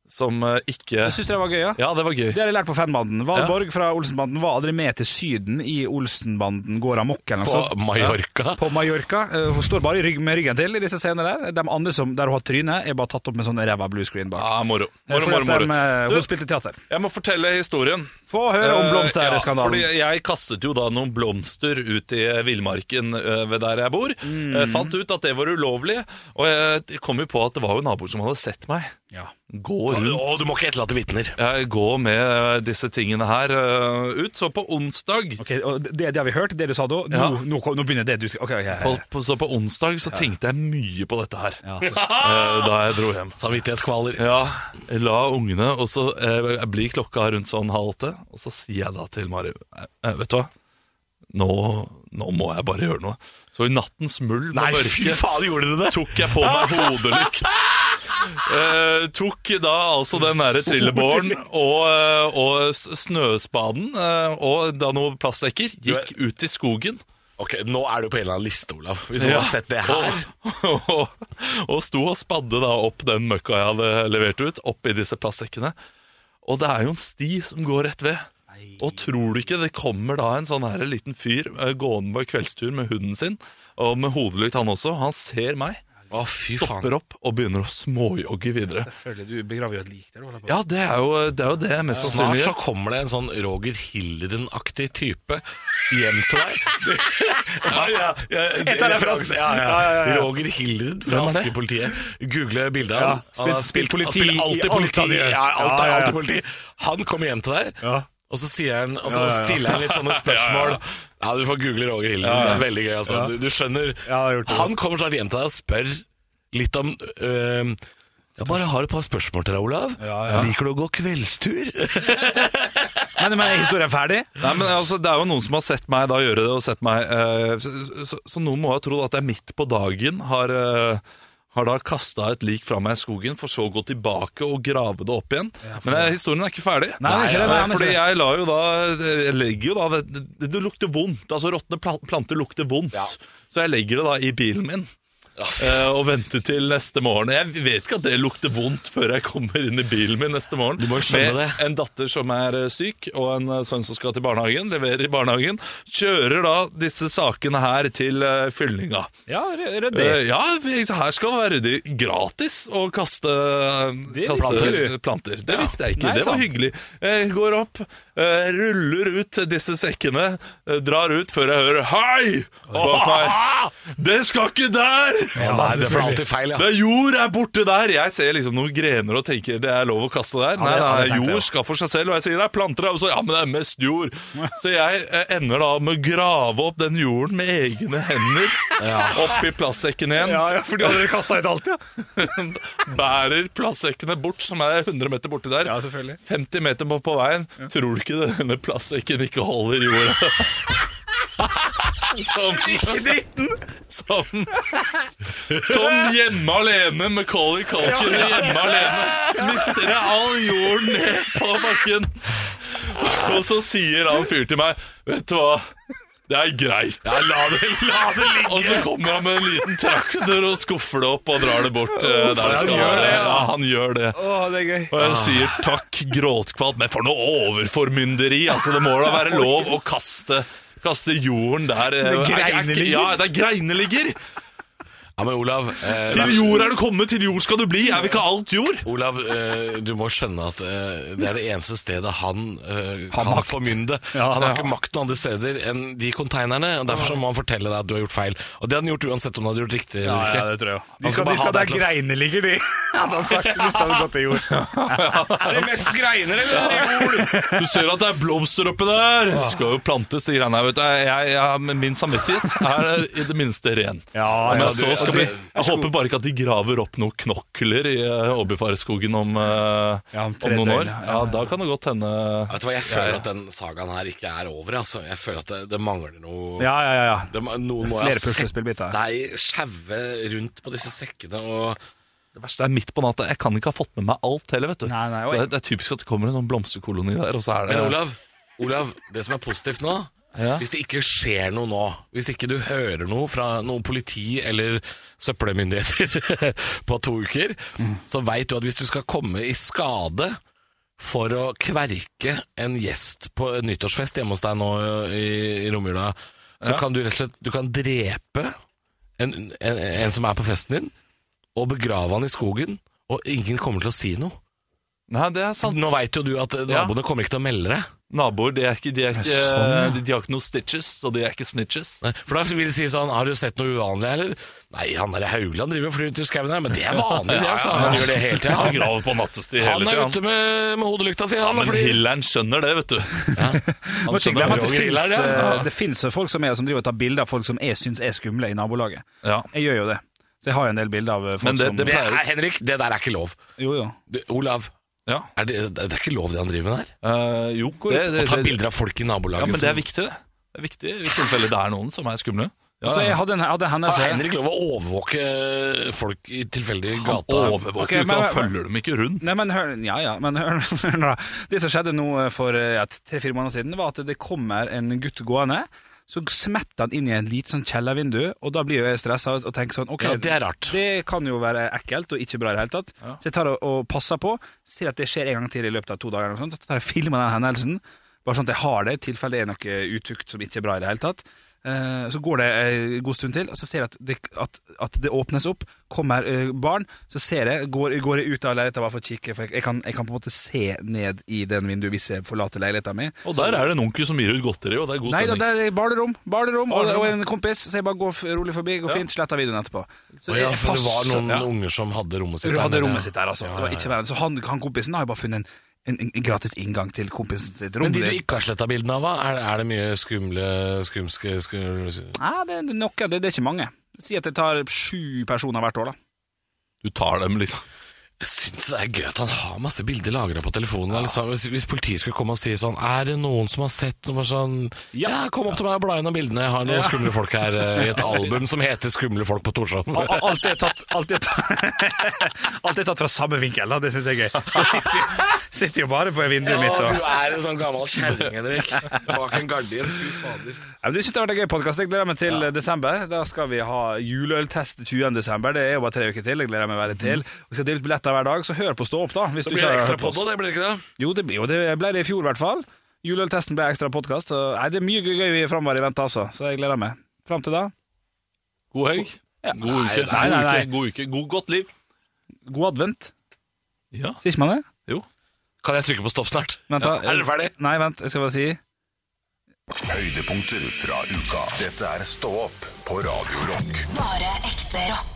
Speaker 5: som eh, ikke
Speaker 4: Jeg syns det var gøy, ja.
Speaker 5: Ja, det var gøy.
Speaker 4: Det har jeg lært på fanbanden. Valborg fra Olsenbanden var aldri med til Syden i Olsenbanden går amok eller noe
Speaker 3: På
Speaker 4: sånt.
Speaker 3: Mallorca?
Speaker 4: på Mallorca. Eh, Hun står bare i rygg, med ryggen til i disse scenene der. De andre som, der hun har trynet, er bare tatt opp med sånn ræva bluescreen bak.
Speaker 5: Ja, moro.
Speaker 4: Eh,
Speaker 5: moro,
Speaker 4: fordi
Speaker 5: moro,
Speaker 4: at de, eh,
Speaker 5: moro.
Speaker 4: hun
Speaker 5: Du,
Speaker 4: spilte teater.
Speaker 5: jeg må fortelle historien.
Speaker 4: Få høre om
Speaker 5: Eh,
Speaker 4: blomsterskandalen.
Speaker 5: Ja, fordi jeg kastet jo da noen blomster ut i villmarken eh, ved der jeg bor. Eh, fant ut at det var ulovlig, og jeg kom jo på at det var jo naboer som hadde sett meg
Speaker 4: Ja.
Speaker 5: gå
Speaker 3: Å,
Speaker 5: rundt.
Speaker 3: du må ikke etterlate vitner.
Speaker 5: Jeg gå med eh, disse tingene her eh, ut. Så på onsdag
Speaker 4: Ok, og det, det har vi hørt, det du sa da. Nå,
Speaker 5: Ja.
Speaker 4: nå, kom- nå begynner det du skal Ok, ok,
Speaker 5: på,
Speaker 4: ok.
Speaker 5: på, Så på onsdag så tenkte jeg mye på dette her
Speaker 4: Ja,
Speaker 5: eh, da jeg dro hjem.
Speaker 3: altså. Samvittighetskvaler.
Speaker 5: Ja, jeg la ungene, og så eh, blir klokka rundt sånn halv åtte, og så sier jeg da til Mari, eh, vet du hva, nå, nå må jeg bare gjøre noe. Så i nattens mulm og
Speaker 3: Nei,
Speaker 5: mørke
Speaker 3: fy faen, gjorde du det?
Speaker 5: tok jeg på meg hodelykt. Eh, tok da altså den derre trillebåren og, eh, og s- snøspaden eh, og da noen plastsekker, gikk ut i skogen.
Speaker 3: Ok, Nå er du på en eller annen liste, Olav. Hvis du
Speaker 5: Ja.
Speaker 3: har sett det her.
Speaker 5: Og, og, og sto og spadde da opp den møkka jeg hadde levert ut, oppi disse plastsekkene. Og det er jo en sti som går rett ved. Og tror du ikke det kommer da en sånn her liten fyr eh, gående på kveldstur med hunden sin, og med hodelykt han også, og han ser meg.
Speaker 3: Å, fy faen.
Speaker 5: Stopper opp og begynner å småjogge videre.
Speaker 4: Selvfølgelig, du begraver jo et lik der. du holder på.
Speaker 5: Ja, det er jo det, er jo det mest
Speaker 3: Snart så
Speaker 5: sannsynlige.
Speaker 3: kommer det en sånn Roger Hilleren-aktig type hjem til deg. ja, ja, ja, det-
Speaker 4: tar
Speaker 3: referanse. Ja,
Speaker 4: Ja, ja,
Speaker 3: ja.
Speaker 4: ja.
Speaker 3: Roger Hilleren fra
Speaker 5: Hvem er det?
Speaker 3: Askepolitiet. Google bildet av ham.
Speaker 4: spilt- spilt politi
Speaker 3: Han spiller alltid
Speaker 4: i alt han
Speaker 3: politi.
Speaker 4: gjør.
Speaker 3: Ja, alt
Speaker 4: Ja,
Speaker 3: er
Speaker 4: ja,
Speaker 3: alltid
Speaker 4: ja.
Speaker 3: politi. Han kommer hjem til deg,
Speaker 4: Ja.
Speaker 3: og så, sier han, og så stiller han litt sånne spørsmål. Ja, du får google Roger Hilleren. Det er veldig gøy, altså. Du, du skjønner.
Speaker 4: Ja, jeg har gjort det.
Speaker 3: Han kommer snart hjem til deg og spør litt om øh, jeg bare har et par spørsmål til deg, Olav.
Speaker 4: Ja, ja.
Speaker 3: Liker du å gå kveldstur?
Speaker 4: Men, men er historien ferdig?
Speaker 5: Nei, men altså, Det er jo noen som har sett meg da gjøre det, og sett meg eh, så, så, så noen må ha trodd at jeg midt på dagen har, eh, har da kasta et lik fra meg i skogen, for så å gå tilbake og grave det opp igjen. Men eh, historien er ikke ferdig.
Speaker 4: Nei, den er ikke det, nei, den er
Speaker 5: fordi
Speaker 4: ikke det.
Speaker 5: jeg la jo da eh, Jeg legger jo da Det, det, det lukter vondt. Altså, råtne pla- planter lukter vondt.
Speaker 3: Ja.
Speaker 5: Så jeg legger det da i bilen min.
Speaker 3: Ja, fy
Speaker 5: eh, Og venter til neste morgen. Jeg vet ikke at det lukter vondt før jeg kommer inn i bilen min neste morgen.
Speaker 3: Du må jo skjønne
Speaker 5: med
Speaker 3: det.
Speaker 5: en datter som er eh, syk, og en eh, sønn som skal til barnehagen, leverer i barnehagen, kjører da disse sakene her til eh, fyllinga.
Speaker 4: Ja, ryddig.
Speaker 5: Eh, ja, vi- her skal det være ryddig gratis å kaste,
Speaker 4: Det
Speaker 5: kaste
Speaker 4: visste du.
Speaker 5: planter. Det visste jeg ikke.
Speaker 4: Nei,
Speaker 5: det var
Speaker 4: sant.
Speaker 5: hyggelig. Jeg går opp, eh, ruller ut disse sekkene, eh, drar ut før jeg hører Hei! Bak meg. Det skal ikke der!
Speaker 3: Ja, nei, det er for alltid feil, ja.
Speaker 5: Det er jord er borte der! Jeg ser liksom noen grener og tenker det er lov å kaste der. Nei,
Speaker 4: det
Speaker 5: nei,
Speaker 4: tenkte jeg
Speaker 5: jord
Speaker 4: også.
Speaker 5: skal for seg selv, og jeg sier det er planter der. Og så ja, men det er mest jord. Så jeg eh, ender da med å grave opp den jorden med egne hender oppi plastsekken igjen.
Speaker 4: for du har allerede kasta ut alt, ja.
Speaker 5: Bærer plastsekkene bort, som er 100 meter borti der.
Speaker 4: Ja, selvfølgelig.
Speaker 5: 50 meter på, på veien. Tror du ikke denne plastsekken ikke holder jorda? Som, som, som hjemme alene med Colly Culkin hjemme alene mister jeg all jorden ned på bakken. Og så sier han fyren til meg, vet du hva, det er greit. la det, ligge. Og så kommer han med en liten traktor og skuffer det opp og drar det bort. eh, der det
Speaker 4: han
Speaker 5: skal
Speaker 4: gjør
Speaker 5: være.
Speaker 4: det, ja. Ah.
Speaker 5: Ja, han gjør det.
Speaker 4: Å, det er gøy.
Speaker 5: Og jeg sier takk, gråtkvalt, men for noe overformynderi. Altså, det må da være lov å kaste, kaste jorden der eh, er-
Speaker 4: Det er
Speaker 5: er ikke-
Speaker 4: greiner ligger.
Speaker 5: Ja, der greinene ligger.
Speaker 3: Ja, men Olav, eh,
Speaker 5: Til jord er du kommet, til jord skal du bli. Er vi ikke alt jord?
Speaker 3: Olav eh, du må skjønne at eh, det er det eneste stedet han eh, kan
Speaker 4: makt.
Speaker 3: formynde.
Speaker 4: Ja,
Speaker 3: han har
Speaker 4: ja.
Speaker 3: ikke makt noen andre steder enn de konteinerne, og derfor så må han fortelle deg at du har gjort feil. Og det hadde han gjort uansett om du hadde gjort riktig
Speaker 4: Ja,
Speaker 3: eller
Speaker 4: ja,
Speaker 3: ikke.
Speaker 4: det tror jeg også.
Speaker 3: Han
Speaker 4: De
Speaker 3: skal
Speaker 4: skal,
Speaker 3: bare
Speaker 4: de
Speaker 3: ha
Speaker 4: skal
Speaker 3: deg
Speaker 4: der
Speaker 3: til å-
Speaker 4: greinene ligger, de. Hadde han sagt hvis det hadde gått til jord.
Speaker 3: Er det mest greiner eller jord?
Speaker 5: Du ser at det er blomster oppi der. Det skal jo plantes, de greiene her. vet du. Jeg, jeg, jeg- men min samvittighet er i det minste ren.
Speaker 4: Ja,
Speaker 5: Men
Speaker 4: ja,
Speaker 5: så skal vi, jeg håper bare ikke at de graver opp noen knokler i eh, Åbyfareskogen om, eh,
Speaker 4: Ja,
Speaker 5: om
Speaker 4: om tre
Speaker 5: noen
Speaker 4: døgn,
Speaker 5: år.
Speaker 4: ja.
Speaker 5: Ja, da kan det godt hende
Speaker 3: Vet du hva, Jeg føler at den sagaen her ikke er over. altså. Jeg føler at det, det mangler noe
Speaker 4: ja, ja, ja.
Speaker 3: det, ma- Noen må jo ha
Speaker 4: Flere
Speaker 3: sett
Speaker 4: puslespillbiter.
Speaker 3: deg sjaue rundt på disse sekkene og
Speaker 5: Det verste er midt på natta. Jeg kan ikke ha fått med meg alt heller. vet du
Speaker 4: Nei, nei,
Speaker 5: Så det, er- det er typisk at det kommer en sånn blomsterkoloni der, og så er det
Speaker 3: Men Olav, Olav, det som er positivt nå
Speaker 5: Ja.
Speaker 3: Hvis det ikke skjer noe nå, hvis ikke du hører noe fra noen politi eller søppelmyndigheter på to uker, så veit du at hvis du skal komme i skade for å kverke en gjest på en nyttårsfest hjemme hos deg nå i, i romjula, så kan du rett og slett du kan drepe en, en, en som er på festen din, og begrave han i skogen, og ingen kommer til å si noe.
Speaker 5: Nei, det er sant.
Speaker 3: Nå veit jo du at naboene kommer ikke til å melde deg.
Speaker 5: Naboer de, er ikke, de, er ikke, eh,
Speaker 4: sånn, ja.
Speaker 5: de, de har ikke noe stitches, og de er ikke snitches.
Speaker 3: Nei, For da vil de si sånn Har du sett noe uvanlig, eller? Nei, han der Haugland driver og flyr rundt i skauen her, men det er vanlig, det, altså. Han gjør det hele tida.
Speaker 5: Han
Speaker 3: Han,
Speaker 5: graver på nattestid hele
Speaker 3: han er
Speaker 5: tida.
Speaker 3: ute med, med hodelykta si, han. og
Speaker 5: Men
Speaker 3: flyr.
Speaker 5: Hillern skjønner det, vet du. Han
Speaker 4: Må ikke glemme at det
Speaker 5: Roger
Speaker 4: finnes,
Speaker 5: Hillern, ja.
Speaker 4: eh, det finnes jo folk som er som driver og tar bilder av folk som jeg syns er skumle i nabolaget.
Speaker 5: Ja.
Speaker 4: Jeg gjør jo det. Så jeg har jo en del bilder av eh,
Speaker 5: Men
Speaker 4: folk
Speaker 5: det-
Speaker 4: som
Speaker 5: det-
Speaker 3: Det er, Henrik, det der er ikke lov.
Speaker 4: Jo, jo.
Speaker 3: Du, Olav,
Speaker 5: Ja.
Speaker 3: er det, det er ikke lov det han driver med der?
Speaker 5: Eh, jo, det, det,
Speaker 3: Å ta
Speaker 5: det-
Speaker 3: bilder av folk i nabolaget.
Speaker 5: Ja, men det er
Speaker 3: som-
Speaker 5: viktig, det. Det er viktig i tilfelle det er noen som er skumle. Ja,
Speaker 4: Så jeg
Speaker 5: ja.
Speaker 4: hadde en, hadde en
Speaker 3: Har
Speaker 4: hendelse
Speaker 3: Ah, Altså, Henrik lov å overvåke folk i tilfeldige
Speaker 5: Han
Speaker 3: gata?
Speaker 5: overvåker
Speaker 4: Ok,
Speaker 5: jo
Speaker 4: men-
Speaker 5: ikke, han følger dem ikke rundt.
Speaker 4: Nei, men hør, ja, ja, men hør, hør nå da. Det som skjedde nå eh, for eh, ja, tre-fire måneder siden, var at det kommer en gutt gående. Så smetter han inn i en lite sånn kjellervindu, og da blir jo jeg stressa og tenker sånn ok,
Speaker 3: Ja, det er rart.
Speaker 4: det kan jo være ekkelt og ikke bra i det hele tatt. Så jeg tar og, og passer på, ser at det skjer en gang til i løpet av to dager. eller noe sånt, Så tar jeg og filmer den hendelsen, bare sånn at jeg har det, i tilfelle det er noe utukt som ikke er bra i det hele tatt. Eh, Eh, Så går det en god stund til, og så ser jeg at det, at, at det åpnes opp. Kommer eh, barn, så ser jeg Går, går jeg ut av leiligheten bare for å kikke, for jeg, jeg, kan, jeg kan på en måte se ned i den vinduet hvis jeg forlater leiligheten min.
Speaker 5: Og der er det en onkel som gir ut godteri, og det er god
Speaker 4: Nei da,
Speaker 5: stemning.
Speaker 4: det er barnerom, barnerom og,
Speaker 5: Barnerom,
Speaker 4: og
Speaker 5: ja.
Speaker 4: en kompis, så jeg bare går f- rolig forbi. Går fint, sletter videoen etterpå.
Speaker 3: Å
Speaker 4: Så
Speaker 3: ja,
Speaker 4: jeg
Speaker 3: for det var
Speaker 4: passer-
Speaker 3: noen
Speaker 4: ja.
Speaker 3: unger som hadde rommet sitt
Speaker 4: Du hadde
Speaker 3: nede, ja.
Speaker 4: rommet sitt der, altså.
Speaker 3: Ja,
Speaker 4: Det var
Speaker 3: ja,
Speaker 4: ikke
Speaker 3: ja.
Speaker 4: verre. Så han, han kompisen har jo bare funnet en, en, en gratis inngang til kompisen sitt rom.
Speaker 3: Men de du
Speaker 4: Det-
Speaker 3: ikke har sletta bildene av, hva? Er, er det mye skumle skumske skumle
Speaker 4: Nei, det er noe, det, det er ikke mange. Si at jeg tar sju personer hvert år, da.
Speaker 5: Du tar dem, liksom.
Speaker 3: Jeg syns det er gøy at han har masse bilder lagra på telefonen. eller så- Hvis, hvis politiet skulle komme og si sånn Er det noen som har sett noe bare sånn
Speaker 4: Ja.
Speaker 3: ja. kom opp til meg og bla gjennom bildene. Jeg har noen skumle folk her eh, i et album som heter 'Skumle folk på Torshov'.
Speaker 4: Al- Alt er tatt, alt er tatt, alt er tatt fra samme vinkel, da. Det syns jeg er gøy. Jeg sitter, jo- sitter jo bare på vinduet mitt og
Speaker 3: er en sånn gammel kjerring, Henrik. Bak en gardin. Fy fader.
Speaker 4: Ja, men Du syns det har vært en gøy podkast. Jeg gleder meg til eh, desember. Da skal vi ha juleøltest 20. desember. Det er jo bare tre uker til. Jeg gleder meg veldig til. Vi skal dele ut billetter hver dag, så hør på Stå opp, Mm. da. Hvis
Speaker 3: Så
Speaker 4: du
Speaker 3: blir
Speaker 4: ikke
Speaker 3: det
Speaker 4: har
Speaker 3: ekstra
Speaker 4: hørt på
Speaker 3: podd
Speaker 4: oss.
Speaker 3: òg, det blir det ikke det?
Speaker 4: Jo, det, blir- jo, det ble det i fjor i hvert fall. Juleøltesten ble ekstra podkast. Nei, det er mye gøy vi framover i vente, altså. Så jeg gleder meg. Fram til da,
Speaker 5: God helg. God
Speaker 4: Nei,
Speaker 5: uke.
Speaker 4: nei, nei, nei.
Speaker 5: God uke. God uke. God godt liv.
Speaker 4: god advent.
Speaker 5: Ja.
Speaker 4: Sier ikke man det?
Speaker 5: Jo.
Speaker 3: Kan jeg trykke på stopp snart?
Speaker 4: Vent, da.
Speaker 3: Er dere ferdig?
Speaker 4: Nei, vent. Jeg skal bare si
Speaker 1: Høydepunkter fra uka. Dette er Stå opp på Radio Rock.
Speaker 2: Bare ekte rock.